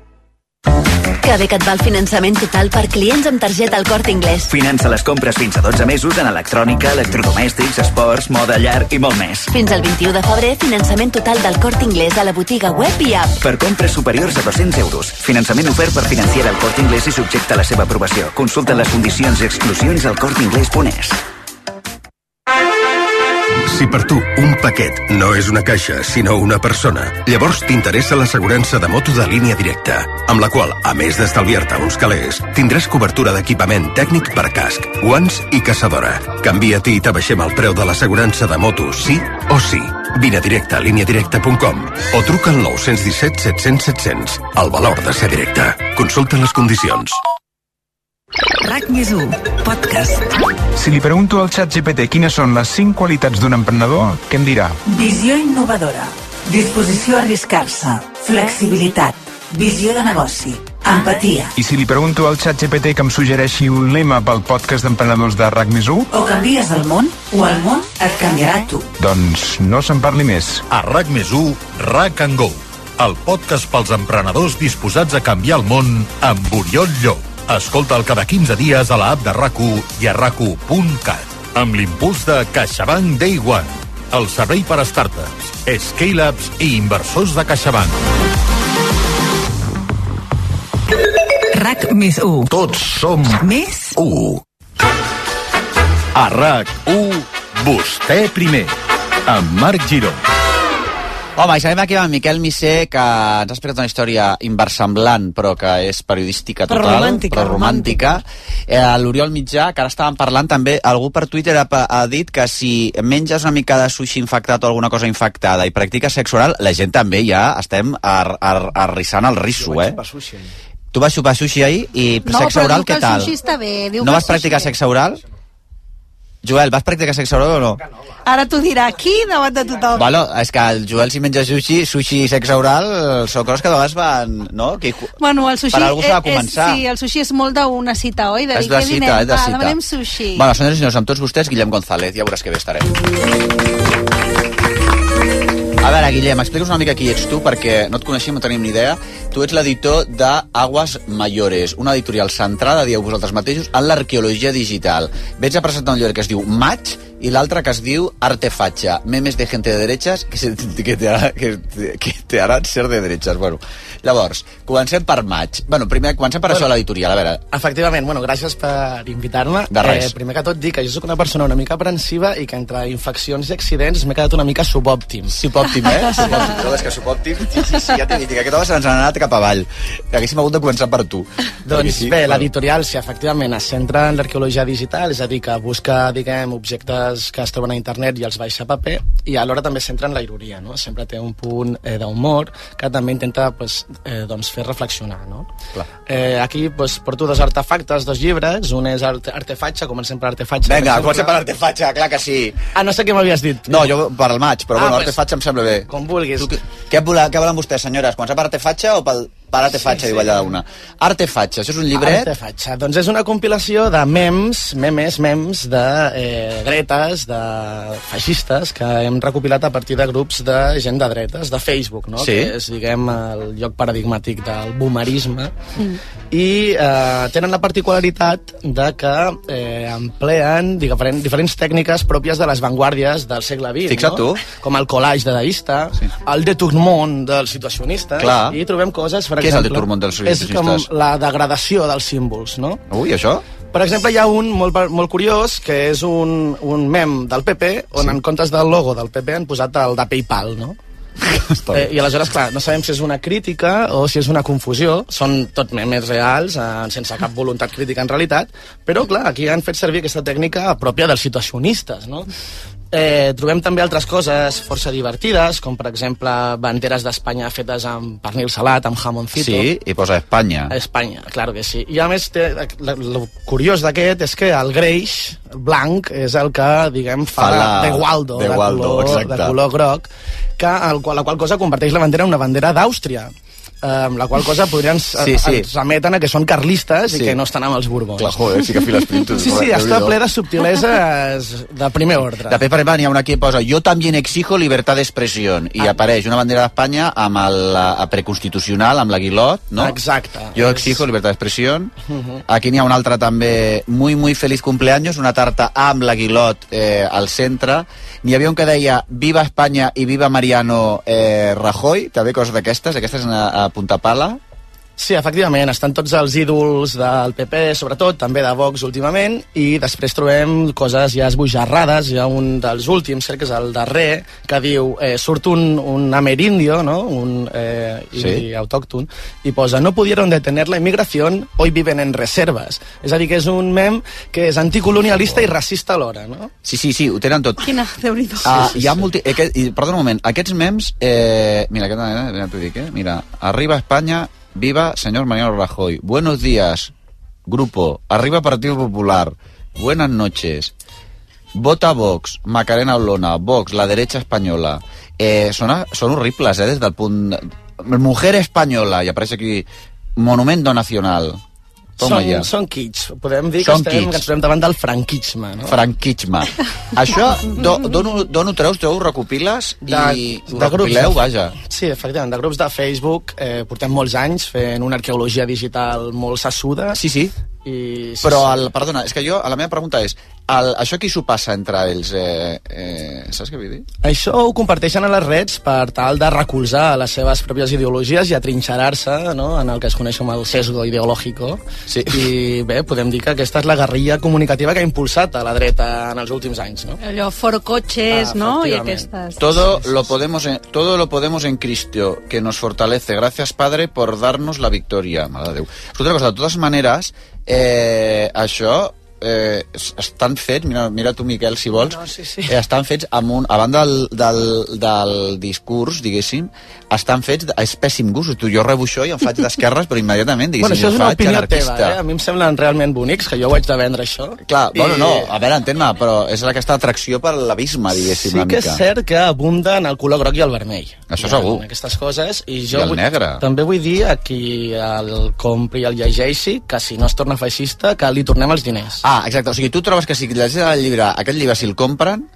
Speaker 12: Que bé que et va el finançament total per clients amb targeta al Corte Inglés.
Speaker 13: Finança les compres fins a 12 mesos en electrònica, electrodomèstics, esports, moda llar i molt més.
Speaker 12: Fins al 21 de febrer, finançament total del Corte Inglés a la botiga web i app.
Speaker 13: Per compres superiors a 200 euros. Finançament ofert per financiar el Corte Inglés i subjecte a la seva aprovació. Consulta les condicions i exclusions al corteinglés.es.
Speaker 14: Si per tu un paquet no és una caixa, sinó una persona, llavors t'interessa l'assegurança de moto de línia directa, amb la qual, a més d'estalviar-te uns calés, tindràs cobertura d'equipament tècnic per casc, guants i caçadora. Canvia-t'hi i t'abaixem el preu de l'assegurança de moto sí o sí. Vine a directe a lineadirecta.com o truca al 917 700 700. El valor de ser directe. Consulta les condicions.
Speaker 11: RAC més 1. Podcast.
Speaker 15: Si li pregunto al xat GPT quines són les 5 qualitats d'un emprenedor, què em dirà?
Speaker 11: Visió innovadora. Disposició a arriscar-se. Flexibilitat. Visió de negoci. Empatia.
Speaker 15: I si li pregunto al xat GPT que em suggereixi un lema pel podcast d'emprenedors de RAC més 1,
Speaker 16: Oh.
Speaker 11: O canvies el món, o el món et canviarà a tu.
Speaker 15: doncs no se'n parli més.
Speaker 9: A RAC més 1, RAC and Go, el podcast pels emprenedors disposats a canviar el món amb Oriol Llop. Escolta'l cada 15 dies a l'app de rac i a rac amb l'impuls de CaixaBank Day One, el servei per a startups, scale-ups i inversors de CaixaBank.
Speaker 11: RAC més 1.
Speaker 9: Tots som
Speaker 11: més
Speaker 9: 1. A RAC1, vostè primer, amb Marc Giró.
Speaker 5: Home, i sabem aquí amb en Miquel Missé, que ens ha explicat una història inversemblant, però que és periodística
Speaker 10: Però
Speaker 5: total.
Speaker 10: romàntica,
Speaker 5: Però romàntica. Eh, L'Oriol Mitjà, que ara estàvem parlant, també algú per Twitter ha, pa- ha dit que si menges una mica de sushi infectat o alguna cosa infectada i practiques sexe oral, la gent també ja estem ar, ar, arrissant el risso, eh? Tu vas xupar sushi ahir i
Speaker 8: No,
Speaker 5: sexe
Speaker 8: però
Speaker 5: oral,
Speaker 8: diu que
Speaker 5: què
Speaker 8: el
Speaker 5: tal?
Speaker 8: sushi està bé. Diu
Speaker 5: no
Speaker 8: que el
Speaker 5: vas practicar
Speaker 8: sushi bé.
Speaker 5: sexe oral? Joel, vas practicar sexe oral o no?
Speaker 8: Ara t'ho dirà aquí davant de tothom.
Speaker 5: Bueno, és que el Joel si menja sushi, sushi i sexe oral, són coses que de vegades van... No? Que,
Speaker 8: Bueno, el sushi
Speaker 5: Per algú s'ha de
Speaker 8: és-
Speaker 5: començar.
Speaker 8: És, sí, el sushi és molt d'una cita, oi? De
Speaker 5: és
Speaker 8: dir,
Speaker 5: de
Speaker 8: què
Speaker 5: cita,
Speaker 8: dinem?
Speaker 5: és de
Speaker 8: Va,
Speaker 5: cita.
Speaker 8: demanem sushi.
Speaker 5: Bueno, senyores i senyors, amb tots vostès, Guillem González. Ja veuràs que bé estarem. A veure, Guillem, explica'ns una mica qui ets tu, perquè no et coneixem, no tenim ni idea. Tu ets l'editor de Aguas Mayores, una editorial centrada, dieu vosaltres mateixos, en l'arqueologia digital. Vens a presentar un llibre que es diu Maig, i l'altra que es diu Arte Facha, memes de gente de derechas que, se, que, te, harà- que, te- que te haran ser de derechas. Bueno, llavors, comencem per maig. Bueno, primer comencem per bueno. això de l'editorial, a veure.
Speaker 17: Efectivament, bueno, gràcies per invitar-me. Eh,
Speaker 5: De res.
Speaker 17: primer que tot dir que jo sóc una persona una mica aprensiva i que entre infeccions i accidents m'he quedat una mica subòptim.
Speaker 5: Subòptim, eh? Subòptim, tu és que subòptim. Sí, sí, sí, ja t'he dit que aquest home se n'ha anat cap avall. Haguéssim hagut de començar per tu. Perquè
Speaker 17: Doncs
Speaker 5: sí,
Speaker 17: bé,
Speaker 5: bueno.
Speaker 17: l'editorial, sí, efectivament, es centra en l'arqueologia digital, és a dir, que busca, diguem, objectes que es troben a internet i els baixa a paper, i alhora també es centra en la ironia, no? Sempre té un punt eh, d'humor que també intenta pues, eh, doncs fer reflexionar, no?
Speaker 5: Clar.
Speaker 17: Eh, aquí pues, porto dos artefactes, dos llibres, un és arte, Artefatge, comencem per Artefatge.
Speaker 5: Vinga, comencem per Artefatge, clar que sí.
Speaker 17: Ah, no sé què m'havies dit.
Speaker 5: No, jo per al maig, però
Speaker 17: Ah,
Speaker 5: ah, bueno,
Speaker 17: pues,
Speaker 5: Arte Fatxa em sembla bé.
Speaker 17: Com vulguis.
Speaker 5: Tu, què, vola, què volen vostès, senyores? Començar per Arte Fatxa o pel, per Arte Fatxa, sí, diu allà una? Arte Fatxa, això és un llibret?
Speaker 17: Arte Fatxa. Doncs és una compilació de memes, memes, memes de eh, dretes, de feixistes, que hem recopilat a partir de grups de gent de dretes, de Facebook, no?
Speaker 5: Sí.
Speaker 17: Que és, diguem, el lloc paradigmàtic del boomerisme. I eh, tenen la particularitat de que eh, empleen diferent, diferents tècniques pròpies de les vanguardies del segle XX,
Speaker 5: Fixa't
Speaker 17: no?
Speaker 5: tu.
Speaker 17: Com el collage dadaista, sí. el detournement dels situacionistes,
Speaker 5: Clar.
Speaker 17: i trobem coses, per
Speaker 5: Què és el
Speaker 17: exemple...
Speaker 5: detournement dels
Speaker 17: És
Speaker 5: situacionistes?
Speaker 17: com la degradació dels símbols, no?
Speaker 5: Ui, això?
Speaker 17: Per exemple, hi ha un molt, molt curiós, que és un, un mem del PP, on sí. en comptes del logo del PP han posat el de PayPal, no? Eh, I aleshores, clar, no sabem si és una crítica o si és una confusió. Són tot memes reals, eh, sense cap voluntat crítica en realitat, però, clar, aquí han fet servir aquesta tècnica pròpia dels situacionistes, no? Eh, trobem també altres coses força divertides, com, per exemple, banderes d'Espanya fetes amb pernil salat, amb jamoncito.
Speaker 5: Sí, i posa Espanya.
Speaker 17: A Espanya, claro que sí. I a més, té, Eh, la, lo curiós d'aquest és que el greix blanc és el que, diguem, fa
Speaker 5: Fa
Speaker 17: de,
Speaker 5: la-
Speaker 17: de Waldo,
Speaker 5: de
Speaker 17: de,
Speaker 5: Waldo,
Speaker 17: color,
Speaker 5: exacte.
Speaker 17: de color groc, que el, qual- la qual cosa converteix la bandera en una bandera d'Àustria eh, amb la qual cosa podrien
Speaker 5: Sí,
Speaker 17: sí,
Speaker 5: sí.
Speaker 17: sí. ens remeten a que són carlistes sí.
Speaker 5: Sí.
Speaker 17: i que no estan amb els Borbons.
Speaker 5: Clar, joder, sí que files pintos.
Speaker 17: Sí, sí,
Speaker 5: Déu-n'hi-do.
Speaker 17: està ple de subtileses de primer ordre.
Speaker 5: De Pepa Reban hi ha una que posa Jo también exijo libertad de expresión i apareix una bandera d'Espanya amb el la- preconstitucional, amb l'aguilot, no?
Speaker 17: Exacte.
Speaker 5: Jo exijo libertad de expresión.
Speaker 17: Mhm.
Speaker 5: Aquí n'hi ha una altra també, Muy muy feliz cumpleaños, una tarta amb l'aguilot eh, al centre. N'hi havia un que deia Viva Espanya i Viva Mariano eh, Rajoy, també coses d'aquestes, aquestes a, a punta pala.
Speaker 17: Sí, efectivament, estan tots els ídols del PP, sobretot, també de Vox últimament, i després trobem coses ja esbojarrades, hi ha un dels últims, crec que és el darrer, que diu, eh, surt un, un amerindio, no? un eh,
Speaker 5: Sí.
Speaker 17: indi autòcton, i posa, no pudieron detener la inmigración, hoy viven en reservas. És a dir, que és un mem que és anticolonialista i racista alhora, no?
Speaker 5: Sí, sí, sí, ho tenen tot.
Speaker 8: Quina, déu nhi
Speaker 5: Ah, hi ha multi... Aquest, i, perdona un moment, aquests mems... Eh, mira, aquest, eh, mira, t'ho dic, eh? Mira, arriba Espanya, viva señor Mariano Rajoy. Buenos días, grupo. Arriba Partido Popular. Buenas noches. Vota Vox, Macarena Olona, Vox, la derecha española. Eh, són, a- són horribles, eh, des del punt... Mujer española, i apareix aquí... Monumento Nacional. Toma
Speaker 17: són,
Speaker 5: ja.
Speaker 17: són kits. Podem dir que,
Speaker 5: Són
Speaker 17: estem,
Speaker 5: kits.
Speaker 17: que ens trobem davant del franquisme, no?
Speaker 5: franquisme. Això, do, dono, dono treus, tu ho recopiles i ho recopileu, vaja.
Speaker 17: Sí, efectivament, de grups de Facebook eh, portem molts anys fent una arqueologia digital molt sassuda.
Speaker 5: Sí, sí.
Speaker 17: I, sí,
Speaker 5: Però,
Speaker 17: sí.
Speaker 5: el, perdona, és que jo, la meva pregunta és, el, això qui s'ho passa entre ells? Eh, eh, saps què vull dir?
Speaker 17: Això ho comparteixen a les reds per tal de recolzar les seves pròpies ideologies i atrinxerar-se no? en el que es coneix com el sesgo ideológico.
Speaker 5: Sí.
Speaker 17: I bé, podem dir que aquesta és la guerrilla comunicativa que ha impulsat a la dreta en els últims anys, no?
Speaker 8: Allò, for cotxes,
Speaker 17: Ah,
Speaker 8: no? I
Speaker 17: efectivament.
Speaker 8: aquestes.
Speaker 5: Todo lo, podemos en, todo lo podemos en Cristo, que nos fortalece. Gracias, Padre, por darnos la victòria. Mare de Déu. Escolta una cosa, de totes maneres, eh, això eh, es- estan fets, mira, mira tu, Miquel, si vols, no,
Speaker 10: sí, sí.
Speaker 5: Eh, estan fets amb un, a banda del, del, del discurs, diguéssim, estan fets, de- és pèssim gust, tu, jo rebo això i em faig d'esquerres, però immediatament, diguéssim,
Speaker 17: Bueno, això és
Speaker 5: em
Speaker 17: una
Speaker 5: faig
Speaker 17: opinió
Speaker 5: anarquista.
Speaker 17: teva, eh? A mi em semblen realment bonics, que jo ho haig de vendre, això.
Speaker 5: Clar, I... bueno, no, a veure, entén-me, però és aquesta atracció per l'abisme, diguéssim,
Speaker 17: Sí
Speaker 5: una
Speaker 17: que
Speaker 5: mica.
Speaker 17: és cert que abunden el color groc i el vermell.
Speaker 5: Això
Speaker 17: Hi ha
Speaker 5: segur.
Speaker 17: Aquestes coses. I,
Speaker 5: I
Speaker 17: jo
Speaker 5: el
Speaker 17: vull-
Speaker 5: negre.
Speaker 17: També vull dir a qui el compri i el llegeixi que si no es torna feixista, que li tornem els diners.
Speaker 5: Ah, exacte, o sigui, tu trobes que si llegeixes el llibre, aquest llibre, si el compren,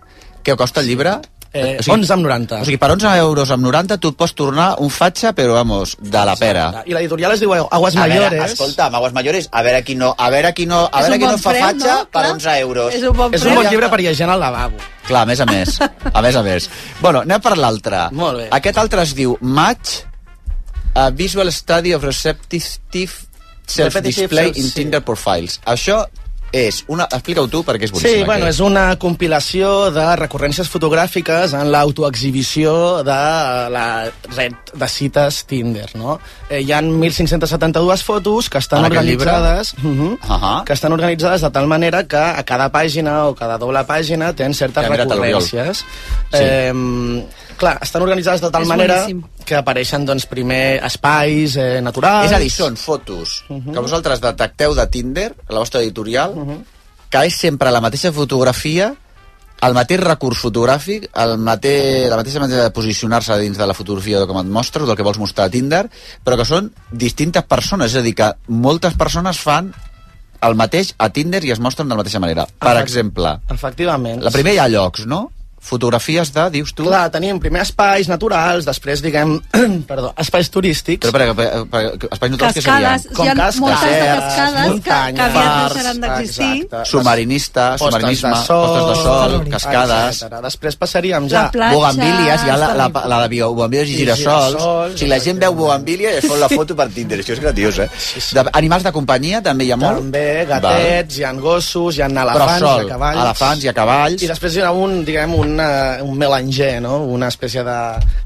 Speaker 5: què costa el llibre?
Speaker 17: Eh, 11 amb 90.
Speaker 5: O sigui, per 11 euros amb 90 tu et pots tornar un fatxa, però vamos, de la pera.
Speaker 17: I l'editorial es diu Aguas
Speaker 5: a
Speaker 17: Mayores.
Speaker 5: Veure, escolta'm, Aguas Mayores, a veure qui no, a veure qui no, a
Speaker 17: És
Speaker 5: veure
Speaker 17: un
Speaker 5: qui no
Speaker 17: bon
Speaker 5: fa
Speaker 17: preu,
Speaker 5: fatxa
Speaker 17: no?
Speaker 5: per
Speaker 17: Clar.
Speaker 5: 11 euros.
Speaker 17: És un bon preu.
Speaker 5: llibre
Speaker 17: per hi ha gent al lavabo.
Speaker 5: Clar, a més a més. A més a més. Bueno, anem per l'altre.
Speaker 17: Molt bé.
Speaker 5: Aquest altre es diu Match a Visual Study of Receptive Self-Display in
Speaker 17: Sí.
Speaker 5: Tinder Profiles. Això és una... Explica-ho tu, perquè és boníssim.
Speaker 17: Sí, bueno, és una compilació de recurrències fotogràfiques en l'autoexhibició de eh, la red de cites Tinder, no? Eh, hi han 1.572 fotos que estan
Speaker 5: En aquest llibre?
Speaker 17: organitzades... Mhm.
Speaker 5: Uh -huh.
Speaker 17: que estan organitzades de tal manera que a cada pàgina o cada doble pàgina tenen certes
Speaker 5: Ja, mira't, Oriol.
Speaker 17: recurrències.
Speaker 5: Sí.
Speaker 17: Sí. Eh, clar, estan organitzades de tal
Speaker 5: És
Speaker 17: manera
Speaker 5: boníssim.
Speaker 17: que apareixen doncs, primer espais eh, Mhm. naturals...
Speaker 5: És a dir, són fotos que vosaltres detecteu de Tinder, a la vostra editorial,
Speaker 17: Mhm.
Speaker 5: que és sempre la mateixa fotografia, el mateix recurs fotogràfic, el mateix, la mateixa manera de posicionar-se dins de la fotografia del que et mostres, del que vols mostrar a Tinder, però que són distintes persones, és a dir, que moltes persones fan el mateix a Tinder i es mostren de la mateixa manera. Per
Speaker 17: Exacte.
Speaker 5: exemple,
Speaker 17: Efectivament.
Speaker 5: la primera hi ha llocs, no? Fotografies de, dius tu...
Speaker 17: Clar, tenim primer espais naturals, després, diguem, perdó, espais turístics.
Speaker 5: Però, per, per, per, espais naturals que serien?
Speaker 8: Cascades, hi ha moltes de cascades que, que aviat deixaran d'existir.
Speaker 17: eh,
Speaker 5: Submarinista, submarinisme, Ah, postes de sol, cascades...
Speaker 17: etcètera. Després passaríem ja...
Speaker 8: La platja,
Speaker 5: Bogambílies, hi ha la, la, la, de bio- bogambílies i
Speaker 17: I
Speaker 5: girassols.
Speaker 17: girassols,
Speaker 5: O sigui, la gent veu bogambília i es fot la foto per Tinder. Això és graciós, eh? De, animals de companyia també hi ha molt.
Speaker 17: També, eh, gatets, hi ha gossos, hi ha
Speaker 5: Però
Speaker 17: elefants,
Speaker 5: sol,
Speaker 17: hi ha cavalls...
Speaker 5: elefants i a cavalls.
Speaker 17: I després hi ha un, diguem, un, eh, un melanger, no? una espècie de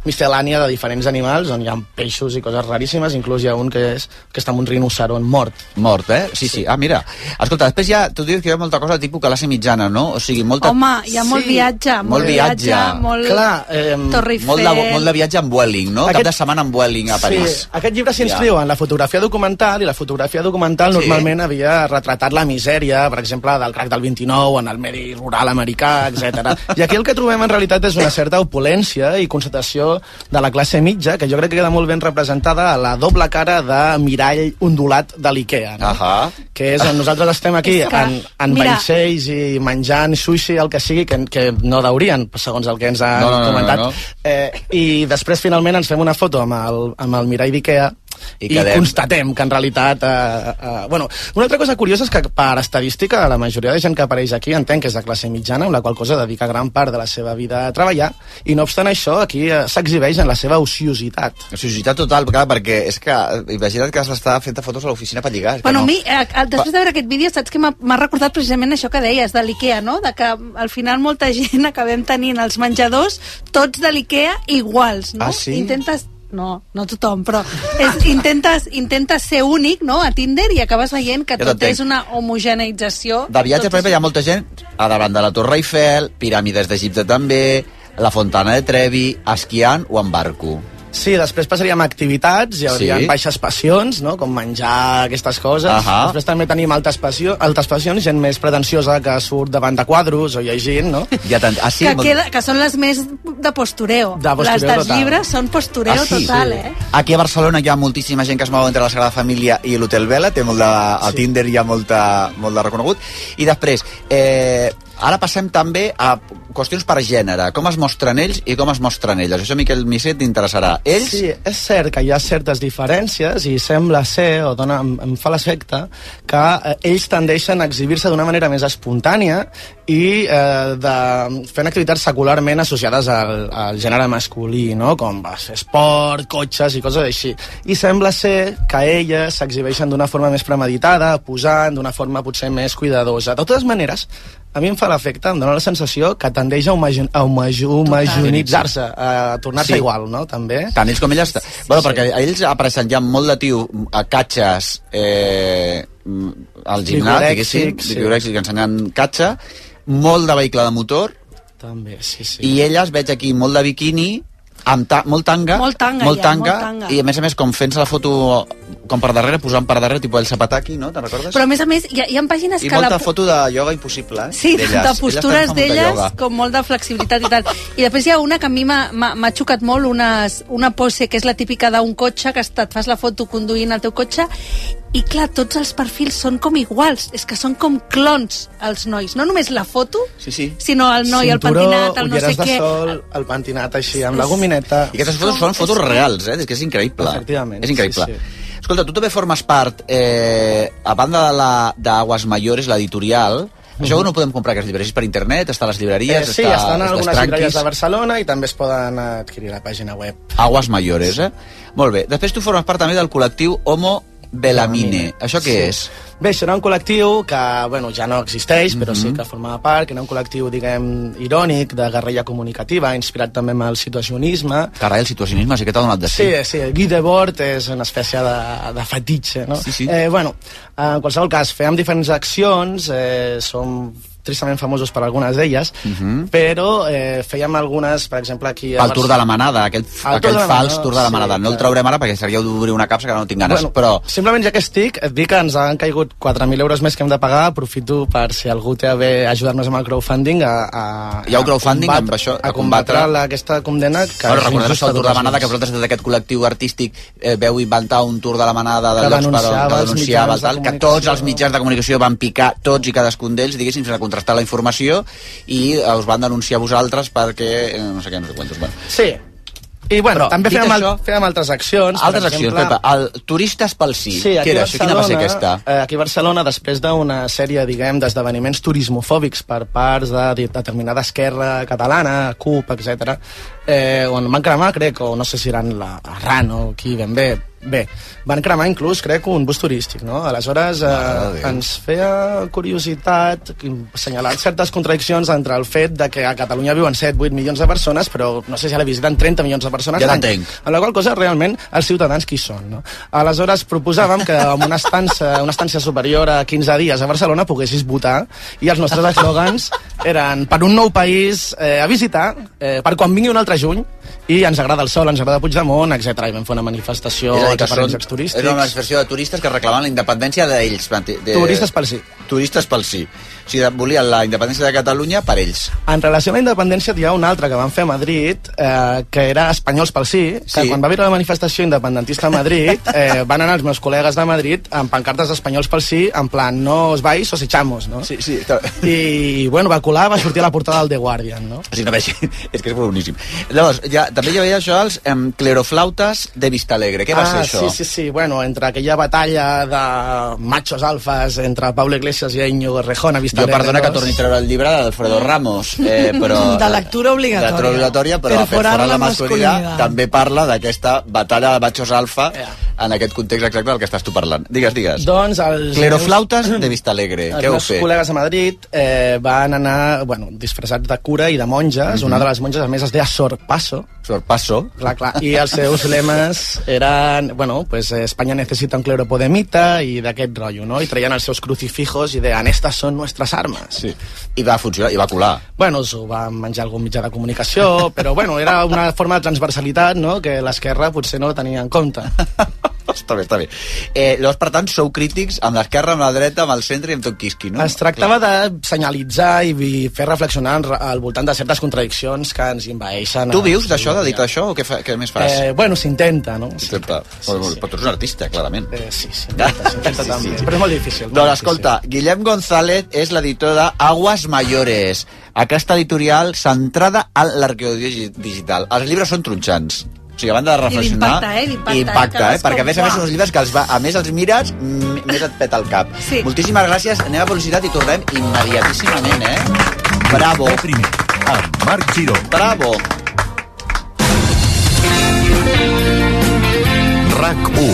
Speaker 17: miscel·lània de diferents animals, on hi ha peixos i coses raríssimes, inclús hi ha un que, és, que està amb un rinoceron mort.
Speaker 5: Mort, eh? Sí, sí. Ah, mira. Escolta, després ja, tu dius que hi ha molta cosa de tipus classe mitjana, no? O sigui, molta...
Speaker 8: Home, hi ha molt viatge, molt,
Speaker 5: Molt viatge. eh,
Speaker 8: molt...
Speaker 17: Clar, ehm,
Speaker 8: Torre Eiffel.
Speaker 5: Molt de, molt de viatge amb Vueling, no? Aquest...
Speaker 17: Aquest-
Speaker 5: Cap de setmana amb Vueling a París.
Speaker 17: Sí, aquest llibre s'inscriu en la fotografia documental i la fotografia documental
Speaker 5: Sí.
Speaker 17: normalment havia retratat la misèria, per exemple, del crac del 29 en el medi rural americà, etc. I aquí el que trobem en realitat és una certa opulència i constatació de la classe mitja, que jo crec que queda molt ben representada a la doble cara de mirall ondulat de l'IKEA. No? Que és on nosaltres estem aquí,
Speaker 5: És que,
Speaker 17: en, en
Speaker 5: mira-
Speaker 17: vaixells i menjant sushi, el que sigui, que, que no deurien, segons el que ens han
Speaker 5: No, no, no, no,
Speaker 17: comentat.
Speaker 5: no.
Speaker 17: Eh, I després, finalment, ens fem una foto amb el, amb el mirall d'Ikea
Speaker 5: I
Speaker 17: i,
Speaker 5: quedem.
Speaker 17: constatem que en realitat... Eh, eh, bueno, una altra cosa curiosa és que per estadística la majoria de gent que apareix aquí entenc que és de classe mitjana, amb la qual cosa dedica gran part de la seva vida a treballar, i no obstant això, aquí eh, s'exhibeix en la seva ociositat.
Speaker 5: Ociositat total, clar, perquè és que eh, imagina't que s'està fent fotos a l'oficina per lligar. és que
Speaker 8: Bueno,
Speaker 5: no.
Speaker 8: a mi, eh, eh, després de veure aquest vídeo, saps que m'ha- m'ha recordat precisament això que deies de l'IKEA, no? De que al final molta gent acabem tenint els menjadors tots de l'IKEA iguals, no?
Speaker 18: Ah, sí?
Speaker 8: Intentes no, no tothom, però és, intentes, intentes ser únic no? a Tinder i acabes veient que
Speaker 5: Ja
Speaker 8: tot
Speaker 5: t'entenc.
Speaker 8: és una homogeneïtzació.
Speaker 5: De viatge,
Speaker 8: Tot
Speaker 5: per
Speaker 8: és-
Speaker 5: exemple, hi ha molta gent a davant de la Torre Eiffel, piràmides d'Egipte també, la Fontana de Trevi, esquiant o en barco.
Speaker 17: Sí, després passaríem a activitats, hi hauria
Speaker 5: Sí.
Speaker 17: sí. baixes passions, no? com menjar aquestes coses.
Speaker 5: Ahà.
Speaker 17: Després també tenim altes, passió, altes passions, gent més pretensiosa que surt davant de quadros o llegint, no?
Speaker 5: Ja tant, ah,
Speaker 8: que, queda, que són les més de postureo.
Speaker 17: De postureo
Speaker 8: les dels
Speaker 5: total.
Speaker 8: llibres són postureo
Speaker 5: Ah, sí?
Speaker 8: total,
Speaker 5: Sí.
Speaker 8: eh?
Speaker 5: Aquí a Barcelona hi ha moltíssima gent que es mou entre la Sagrada Família i l'Hotel Vela, té molt de, a Tinder hi ha molta, molt de reconegut. I després, eh, ara passem també a qüestions per gènere, com es mostren ells i com es mostren elles. Això, Miquel Misset, t'interessarà. Ells,
Speaker 17: Sí, és cert que hi ha certes diferències i sembla ser, o dona, em, em fa l'efecte, que eh, ells tendeixen a exhibir-se d'una manera més espontània i eh, de, fent activitats secularment associades al, al gènere masculí, no? com va ser esport, cotxes i coses així. I sembla ser que elles s'exhibeixen d'una forma més premeditada, posant d'una forma potser més cuidadosa. De totes maneres, a mi em fa l'efecte, em dóna la sensació que tendeix a homogeneitzar-se, a tornar-se
Speaker 5: Sí.
Speaker 17: sí. igual, no? també.
Speaker 5: Tant ells com elles... Sí, bueno, perquè a ells apareixen ja molt de tio a catxes eh, mm, al gimnàs,
Speaker 17: Vigorèxics,
Speaker 5: diguéssim,
Speaker 17: sí.
Speaker 5: vigorèxics, que ensenyant catxa, molt de vehicle de motor,
Speaker 17: També, sí, sí.
Speaker 5: i elles veig aquí molt de biquini, amb ta molt tanga,
Speaker 8: Molt tanga,
Speaker 5: molt
Speaker 8: ja,
Speaker 5: tanga,
Speaker 8: molt tanga.
Speaker 5: i a més a més com fent la foto com per darrere, posant per darrere, tipus el zapataki, no? Te'n recordes?
Speaker 8: Però a més a més, hi ha, hi ha pàgines
Speaker 5: I
Speaker 8: que...
Speaker 5: molta
Speaker 8: pu-
Speaker 5: foto de ioga impossible, eh?
Speaker 8: Sí, de,
Speaker 5: D'elles.
Speaker 8: de
Speaker 5: Elles
Speaker 8: postures
Speaker 5: fan molt de
Speaker 8: d'elles,
Speaker 5: ioga.
Speaker 8: com molt de flexibilitat i tal. I després hi ha una que a mi m'ha- m'ha m'ha xocat molt, una, una pose que és la típica d'un cotxe, que està- et fas la foto conduint el teu cotxe, i clar, tots els perfils són com iguals, és que són com clons els nois, no només la foto,
Speaker 5: Sí, sí.
Speaker 8: sinó el noi, el
Speaker 17: Cinturó,
Speaker 8: pentinat, el no sé
Speaker 17: ulleres de
Speaker 8: què...
Speaker 17: sol, el pentinat així, amb la gomineta...
Speaker 5: I aquestes fotos són fotos reals, eh? És que és increïble.
Speaker 17: Efectivament,
Speaker 5: És increïble.
Speaker 17: sí,
Speaker 5: Escolta, tu també formes part, eh, a banda de la d'Aguas Mayores, l'editorial, això no ho podem comprar, aquests llibres, és per internet, està a les
Speaker 17: Eh,
Speaker 5: llibreries,
Speaker 17: sí,
Speaker 5: està,
Speaker 17: estan en
Speaker 5: als
Speaker 17: algunes
Speaker 5: tranquis.
Speaker 17: llibreries de Barcelona i també es poden adquirir a la pàgina web.
Speaker 5: Aguas Mayores, eh? Molt bé. Després tu formes part també del col·lectiu Homo Belamine. Això què és?
Speaker 17: Bé, això era un col·lectiu que, bueno, ja no existeix, però
Speaker 5: Mhm.
Speaker 17: sí que formava part, que era un col·lectiu, diguem, irònic, de guerrilla comunicativa, inspirat també amb el situacionisme.
Speaker 5: Carai, el situacionisme sí que t'ha donat de
Speaker 17: Sí,
Speaker 5: sí.
Speaker 17: sí, Guy Debord és una espècie de, de fetitxe, no?
Speaker 5: Sí, sí.
Speaker 17: Eh, bueno, en qualsevol cas, fèiem diferents accions, eh, som tristament famosos per algunes d'elles,
Speaker 5: Mhm.
Speaker 17: però eh, fèiem algunes, per exemple, aquí... a
Speaker 5: Pel Tour de la Manada, aquell,
Speaker 17: Tour
Speaker 5: aquell
Speaker 17: de la
Speaker 5: fals
Speaker 17: Manada,
Speaker 5: Tour de la
Speaker 17: sí,
Speaker 5: Manada. no el
Speaker 17: clar.
Speaker 5: traurem ara perquè seria d'obrir una capsa que ara no tinc ganes,
Speaker 17: Bueno,
Speaker 5: però...
Speaker 17: Simplement ja que estic, et dic que ens han caigut 4.000 euros més que hem de pagar, aprofito per si algú té a bé ajudar-nos amb el crowdfunding a, a,
Speaker 5: Hi ha un crowdfunding
Speaker 17: a
Speaker 5: amb això,
Speaker 17: a
Speaker 5: a combatre-
Speaker 17: combatre la, aquesta condemna que
Speaker 5: Bueno,
Speaker 17: és
Speaker 5: recordem
Speaker 17: injusta
Speaker 5: això el Tour de la
Speaker 17: totes
Speaker 5: Manada, que
Speaker 17: les-
Speaker 5: vosaltres des d'aquest col·lectiu artístic eh, veu inventar un Tour de la Manada de
Speaker 17: Que
Speaker 5: llocs per on
Speaker 17: denunciava
Speaker 5: que
Speaker 17: els
Speaker 5: denunciava,
Speaker 17: mitjans de
Speaker 5: tal, que tots els mitjans de comunicació van picar tots i cadascun d'ells, diguéssim, sense contrastar la informació, i eh, us van denunciar vosaltres perquè... eh, No sé què, no sé quantos. Bueno.
Speaker 17: Sí. I bueno,
Speaker 5: Però,
Speaker 17: també
Speaker 5: dit
Speaker 17: fèiem,
Speaker 5: això-
Speaker 17: al, fèiem altres accions. per
Speaker 5: Altres accions,
Speaker 17: exemple-
Speaker 5: Pepa, el Turistes pel Sí,
Speaker 17: Sí, aquí
Speaker 5: què
Speaker 17: a
Speaker 5: era això? Quina va ser
Speaker 17: Barcelona,
Speaker 5: aquesta?
Speaker 17: eh, aquí a Barcelona, després d'una sèrie, diguem, d'esdeveniments turismofòbics per parts de de- determinada esquerra catalana, CUP, etc., eh, on van cremar, crec, o no sé si eren la RAN o qui ben bé, bé, van cremar inclús, crec, un bus turístic, no? Aleshores, eh, ens feia curiositat assenyalar certes contradiccions entre el fet de que a Catalunya viuen 7-8 milions de persones, però no sé si ara visiten 30 milions de persones.
Speaker 5: Ja
Speaker 17: l'any.
Speaker 5: t'entenc.
Speaker 17: En la qual cosa, realment, els ciutadans qui són, no? Aleshores, proposàvem que amb una estança, una estança superior a 15 dies a Barcelona poguessis votar i els nostres eslògans eren per un nou país eh, a visitar, eh, per quan vingui un altre juny, i ens agrada el sol, ens agrada Puigdemont, etc. I vam fer una manifestació
Speaker 5: És a dir, que
Speaker 17: als
Speaker 5: són-
Speaker 17: aparells turístics.
Speaker 5: Era una manifestació de turistes que reclamaven la independència d'ells. De, de,
Speaker 17: Turistes pel sí.
Speaker 5: Turistes pel sí. O sigui, volien la independència de Catalunya per ells.
Speaker 17: En relació a la independència hi ha un altre que van fer a Madrid, eh, que era Espanyols pel sí, que
Speaker 5: Sí.
Speaker 17: sí. quan va haver la manifestació independentista a Madrid, eh, van anar els meus col·legues de Madrid amb pancartes d'Espanyols pel sí, en plan, no os vais, os echamos, no?
Speaker 5: Sí, sí.
Speaker 17: I, bueno, va colar, va sortir a la portada del The Guardian, no?
Speaker 5: O sigui, no veig, és que és boníssim. Llavors, ja, també hi havia això els em, cleroflautes de Vistalegre. Què va
Speaker 17: ah,
Speaker 5: ser això?
Speaker 17: Sí, sí, sí. Bueno, entre aquella batalla de machos alfas entre Pablo Iglesias i Íñigo Rejón a vista
Speaker 5: Jo perdona que torni a treure el llibre
Speaker 17: Ah.
Speaker 5: d'Alfredo Ramos, eh, però...
Speaker 10: De lectura obligatòria.
Speaker 5: De lectura obligatòria, però
Speaker 10: Perforar
Speaker 5: perforar
Speaker 10: la
Speaker 5: la masculinitat
Speaker 10: masculinitat.
Speaker 5: també parla d'aquesta batalla de machos alfa en aquest context exacte del que estàs tu parlant. Digues, digues.
Speaker 17: Doncs els...
Speaker 5: Cleroflautes de Vistalegre.
Speaker 17: Els
Speaker 5: Eh, Què vau
Speaker 17: meus
Speaker 5: fer?
Speaker 17: col·legues a Madrid eh, van anar bueno, disfressats de cura i de monges.
Speaker 5: Mhm.
Speaker 17: Una de les monges, a més, es deia Sorpasso.
Speaker 5: Sorpasso.
Speaker 17: Clar, clar. I els seus lemes eren, bueno, pues eh, España necesita un cleropodemita i d'aquest rotllo, no? I traien els seus crucifijos i deien, estas son nuestras armas.
Speaker 5: Sí. I va funcionar, i va colar.
Speaker 17: Bueno, s'ho va menjar algun mitjà de comunicació, però bueno, era una forma de transversalitat, no?, que l'esquerra potser no tenia en compte.
Speaker 5: Està bé, està bé. Eh, llavors, per tant, sou crítics amb l'esquerra, amb la dreta, amb el centre i amb tot quisqui, no?
Speaker 17: Es tractava de senyalitzar i vi- fer reflexionar en- al voltant de certes contradiccions que ens invaeixen.
Speaker 5: Tu vius d'això, dedicat a això, o què, fa, què més fas?
Speaker 17: Eh, bueno, s'intenta, no?
Speaker 5: Sempre. Sí, sí. Però tu ets un artista, clarament.
Speaker 17: Eh, sí, sí.
Speaker 5: S'intenta
Speaker 17: també, però és molt difícil, molt
Speaker 5: Doncs
Speaker 17: difícil.
Speaker 5: escolta, Guillem González és l'editor de Aguas Mayores, aquesta editorial centrada en l'arqueologia digital. Els llibres són tronxants. O sigui, a banda de
Speaker 8: I
Speaker 5: reflexionar...
Speaker 8: d'impacte, eh? D'impacte,
Speaker 5: i
Speaker 8: eh?
Speaker 5: impacta, eh?
Speaker 8: Cadascú,
Speaker 5: Perquè a més a més
Speaker 8: uah.
Speaker 5: són uns llibres que els va, a més els mires, m- més et peta el cap.
Speaker 8: Sí.
Speaker 5: Moltíssimes gràcies, anem a publicitat i tornem immediatíssimament, eh? Bravo. Primer, amb Marc Giró. Bravo.
Speaker 18: RAC 1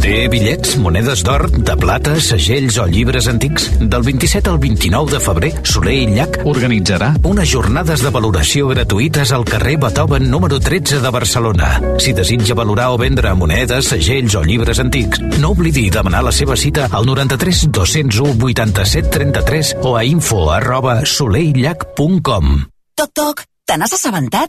Speaker 18: Té bitllets, monedes d'or, de plata, segells o llibres antics? Del 27 al 29 de febrer, Soler i Llach organitzarà unes jornades de valoració gratuïtes al carrer Beethoven número 13 de Barcelona. Si desitja valorar o vendre monedes, segells o llibres antics, no oblidi demanar la seva cita al 93 201 87 33 o a info arroba solerilllac.com.
Speaker 11: Toc, toc, te n'has assabentat?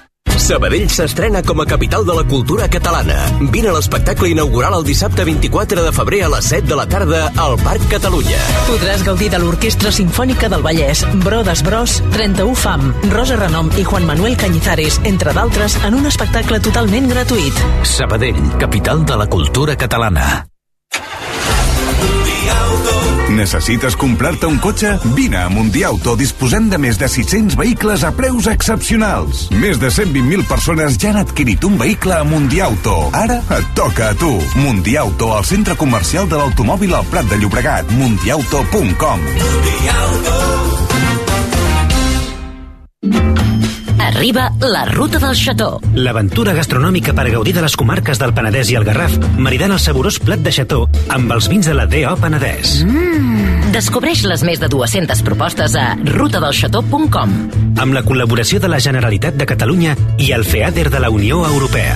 Speaker 19: Sabadell s'estrena com a capital de la cultura catalana. Vine a l'espectacle inaugural el dissabte 24 de febrer a les 7 de la tarda al Parc Catalunya.
Speaker 16: Podràs gaudir de l'Orquestra Simfònica del Vallès, Brodes Bros, 31 Fam, Rosa Renom i Juan Manuel Cañizares, entre d'altres, en un espectacle totalment gratuït.
Speaker 18: Sabadell, capital de la cultura catalana.
Speaker 9: Necessites comprar-te un cotxe? Vine a Mundiauto, disposem de més de 600 vehicles a preus excepcionals. Més de 120.000 persones ja han adquirit un vehicle a Mundiauto. Ara et toca a tu. Mundiauto, al centre comercial de l'automòbil al Prat de Llobregat. Mundiauto.com
Speaker 20: Arriba la ruta del Xató.
Speaker 21: L'aventura gastronòmica per gaudir de les comarques del Penedès i el Garraf, maridant el saborós plat de xató amb els vins de la D.O. Penedès.
Speaker 20: Mm. Descobreix les més de 200 propostes a rutadelxató.com.
Speaker 21: Amb la col·laboració de la Generalitat de Catalunya i el FEADER de la Unió Europea.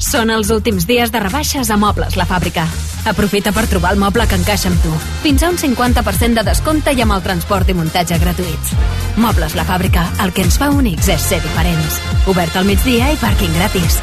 Speaker 22: Són els últims dies de rebaixes a Mobles La Fàbrica. Aprofita per trobar el moble que encaixa amb tu. Fins a un 50% de descompte i amb el transport i muntatge gratuïts. Mobles La Fàbrica, el que ens fa únics és ser diferents. Obert al migdia i pàrquing gratis.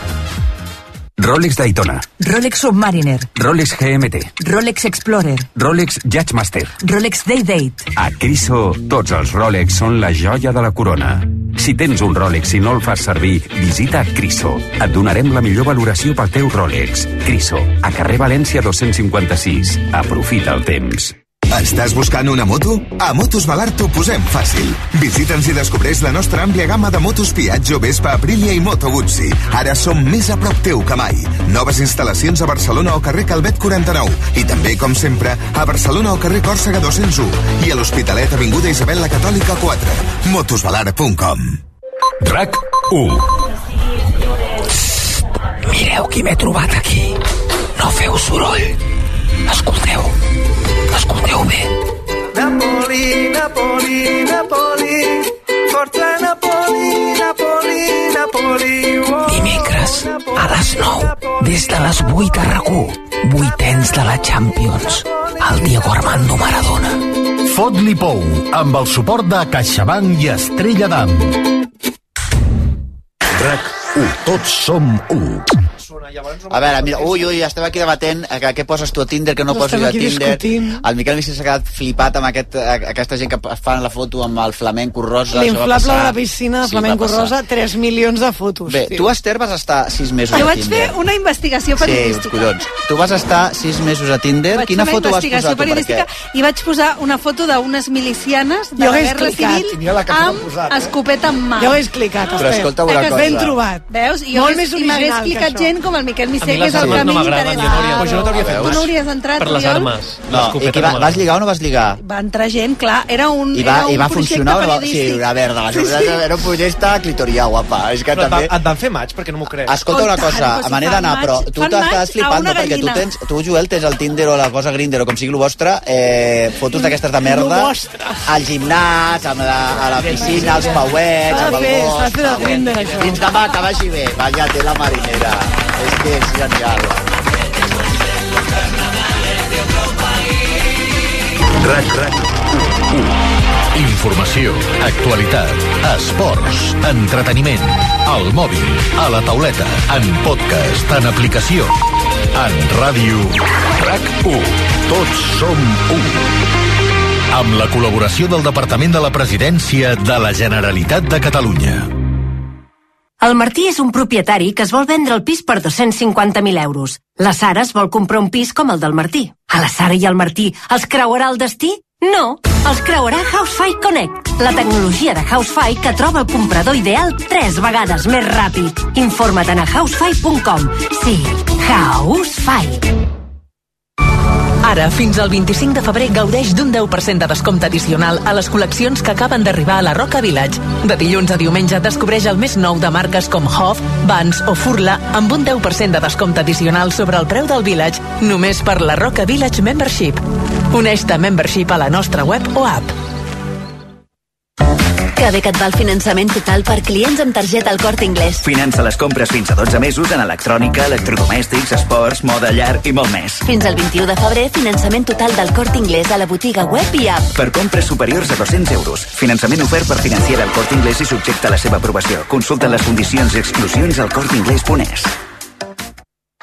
Speaker 23: Rolex Daytona,
Speaker 24: Rolex Submariner,
Speaker 23: Rolex GMT,
Speaker 24: Rolex Explorer,
Speaker 23: Rolex Judgemaster.
Speaker 24: Rolex Day Date.
Speaker 23: A Criso, tots els Rolex són la joia de la corona. Si tens un Rolex i no el fas servir, visita Criso. Et donarem la millor valoració pel teu Rolex. Criso, a carrer València 256. Aprofita el temps.
Speaker 25: Estàs buscant una moto? A Motos Valar t'ho posem fàcil. Visita'ns i descobreix la nostra àmplia gamma de motos Piaggio, Vespa, Aprilia i Moto Guzzi. Ara som més a prop teu que mai. Noves instal·lacions a Barcelona o carrer Calvet 49 i també, com sempre, a Barcelona o carrer Còrsega 201 i a l'Hospitalet Avinguda Isabel la Catòlica 4. motosvalar.com
Speaker 9: RAC 1
Speaker 26: Mireu qui m'he trobat aquí. No feu soroll. Escolteu. Escolteu bé.
Speaker 27: Napoli, Napoli, Napoli, forza Napoli, Napoli, Napoli. Oh,
Speaker 26: Dimecres, Ah. a les 9, des de les 8 a RAC1, vuitens de la Champions, el Diego Armando Maradona.
Speaker 9: Fot-li pou, amb el suport de CaixaBank i Estrella d'Am.
Speaker 23: RAC 1. Tots som 1.
Speaker 5: A veure, mira, ui, ui, estem aquí debatent eh, que, què poses tu a Tinder, que no,
Speaker 10: No
Speaker 5: poso
Speaker 10: estem
Speaker 5: jo a
Speaker 10: aquí
Speaker 5: Tinder.
Speaker 10: discutint.
Speaker 5: El Miquel Vicent s'ha quedat flipat amb aquest, a, aquesta gent que es fan la foto amb el flamenco rosa. això va
Speaker 10: L'inflable de
Speaker 5: passar.
Speaker 10: la piscina de
Speaker 5: Sí,
Speaker 10: Flamenco
Speaker 5: va passar.
Speaker 10: Rosa, 3 milions de fotos.
Speaker 5: Bé,
Speaker 10: tio.
Speaker 5: tu, Esther, vas estar sis mesos
Speaker 8: Jo
Speaker 5: a
Speaker 8: vaig fer
Speaker 5: Tinder.
Speaker 8: una investigació
Speaker 5: Sí,
Speaker 8: periodística.
Speaker 5: collons. Tu vas estar sis mesos a Tinder.
Speaker 8: Vaig
Speaker 5: Quina
Speaker 8: fer una
Speaker 5: foto vas posar
Speaker 8: investigació
Speaker 5: tu?
Speaker 8: periodística i vaig posar una foto d'unes milicianes de
Speaker 10: Jo
Speaker 8: la
Speaker 10: hagués
Speaker 8: Guerra
Speaker 10: clicat. I
Speaker 8: Civil
Speaker 10: mira la que s'han
Speaker 8: amb
Speaker 10: posat, eh?
Speaker 8: escopeta en mà.
Speaker 10: Jo hagués clicat,
Speaker 5: Però Esther. escolta una
Speaker 8: Eh que sí?
Speaker 5: cosa. Ben trobat.
Speaker 8: Veus? I jo
Speaker 10: Molt
Speaker 8: hagués,
Speaker 10: més
Speaker 8: i m'hagués
Speaker 10: original que
Speaker 8: clicat
Speaker 10: això.
Speaker 8: gent com el Miquel Micé, que
Speaker 6: les
Speaker 8: és el
Speaker 6: armes
Speaker 8: que a mi
Speaker 6: no m'agraden, jo no hauria-
Speaker 8: m'interessa.
Speaker 6: Pues jo no t'hauria fet
Speaker 8: Tu
Speaker 5: mai.
Speaker 8: no hauries entrat,
Speaker 5: Per les
Speaker 8: Oriol?
Speaker 5: armes. No, i
Speaker 6: L'escopeta
Speaker 5: que
Speaker 6: no
Speaker 5: va,
Speaker 6: m'agrada.
Speaker 5: vas lligar o no vas lligar?
Speaker 8: Va entrar gent, clar, era un,
Speaker 5: I va,
Speaker 8: Eh, era un
Speaker 5: i va
Speaker 8: projecte
Speaker 5: funcionar o no va... Sí,
Speaker 8: periodístic.
Speaker 5: a veure, de la
Speaker 8: Sí, sí.
Speaker 5: Jordana era un projecte clitorià, guapa. És que
Speaker 6: Però et,
Speaker 5: també...
Speaker 6: va, et van fer maig, perquè no m'ho crec.
Speaker 5: Escolta una cosa, a manera d'anar, però tu t'estàs flipant, no? perquè tu, tens, tu, Joel, tens el Tinder o la cosa Grindr o com sigui el vostre, eh, fotos d'aquestes de merda,
Speaker 10: Lo vostre.
Speaker 5: al gimnàs, a la, a la piscina, als pauets,
Speaker 10: S'ha
Speaker 5: al
Speaker 10: de fer, s'ha de
Speaker 5: balcó...
Speaker 10: fer de Tinder, això.
Speaker 5: Fins demà, que vagi bé. Vaya tela marinera. És que és genial.
Speaker 9: RAC, RAC 1.
Speaker 23: Informació, actualitat, esports, entreteniment, al mòbil, a la tauleta, en podcast, en aplicació, en ràdio. RAC 1. Tots som 1. Amb la col·laboració del Departament de la Presidència de la Generalitat de Catalunya.
Speaker 28: El Martí és un propietari que es vol vendre el pis per 250.000 euros. La Sara es vol comprar un pis com el del Martí. A la Sara i al Martí els creuarà el destí? No!
Speaker 29: Els creuarà Housefy Connect, la tecnologia de Housefy que troba el comprador ideal tres vegades més ràpid. Informa't a housefy.com. Sí, Housefy.
Speaker 16: Ara, fins al 25 de febrer, gaudeix d'un 10% de descompte addicional a les col·leccions que acaben d'arribar a la Roca Village. De dilluns a diumenge, descobreix el més nou de marques com Hof, Vans o Furla amb un 10% de descompte addicional sobre el preu del Village, només per la Roca Village Membership. Uneix-te a Membership a la nostra web o app.
Speaker 30: Que bé que et va el finançament total per clients amb targeta al Corte Inglés.
Speaker 13: Finança les compres fins a 12 mesos en electrònica, electrodomèstics, esports, moda llar i molt més.
Speaker 30: Fins al 21 de febrer, finançament total del Corte Inglés a la botiga web i app.
Speaker 13: Per compres superiors a 200 euros. Finançament ofert per financiar el Corte Inglés i subjecte a la seva aprovació. Consulta les condicions i exclusions al corteinglés.es.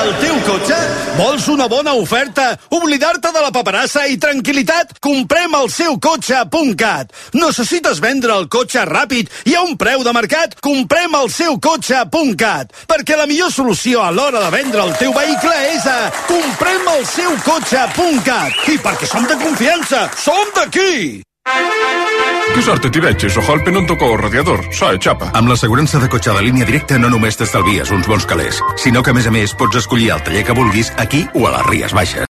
Speaker 2: el teu cotxe? Vols una bona oferta? Oblidar-te de la paperassa i tranquil·litat? Comprem el seu cotxe a puntcat. Necessites vendre el cotxe ràpid i a un preu de mercat? Comprem el seu cotxe a puntcat. Perquè la millor solució a l'hora de vendre el teu vehicle és a comprem el seu cotxe a puntcat. I perquè som de confianza, som d'aquí!
Speaker 31: Que sorte tiveches, o golpe non tocou o radiador, eh, só é chapa.
Speaker 14: Amb l'assegurança de cotxe de línia directa no només t'estalvies uns bons calés, sinó que, a més a més, pots escollir el taller que vulguis aquí o a les Ries Baixes.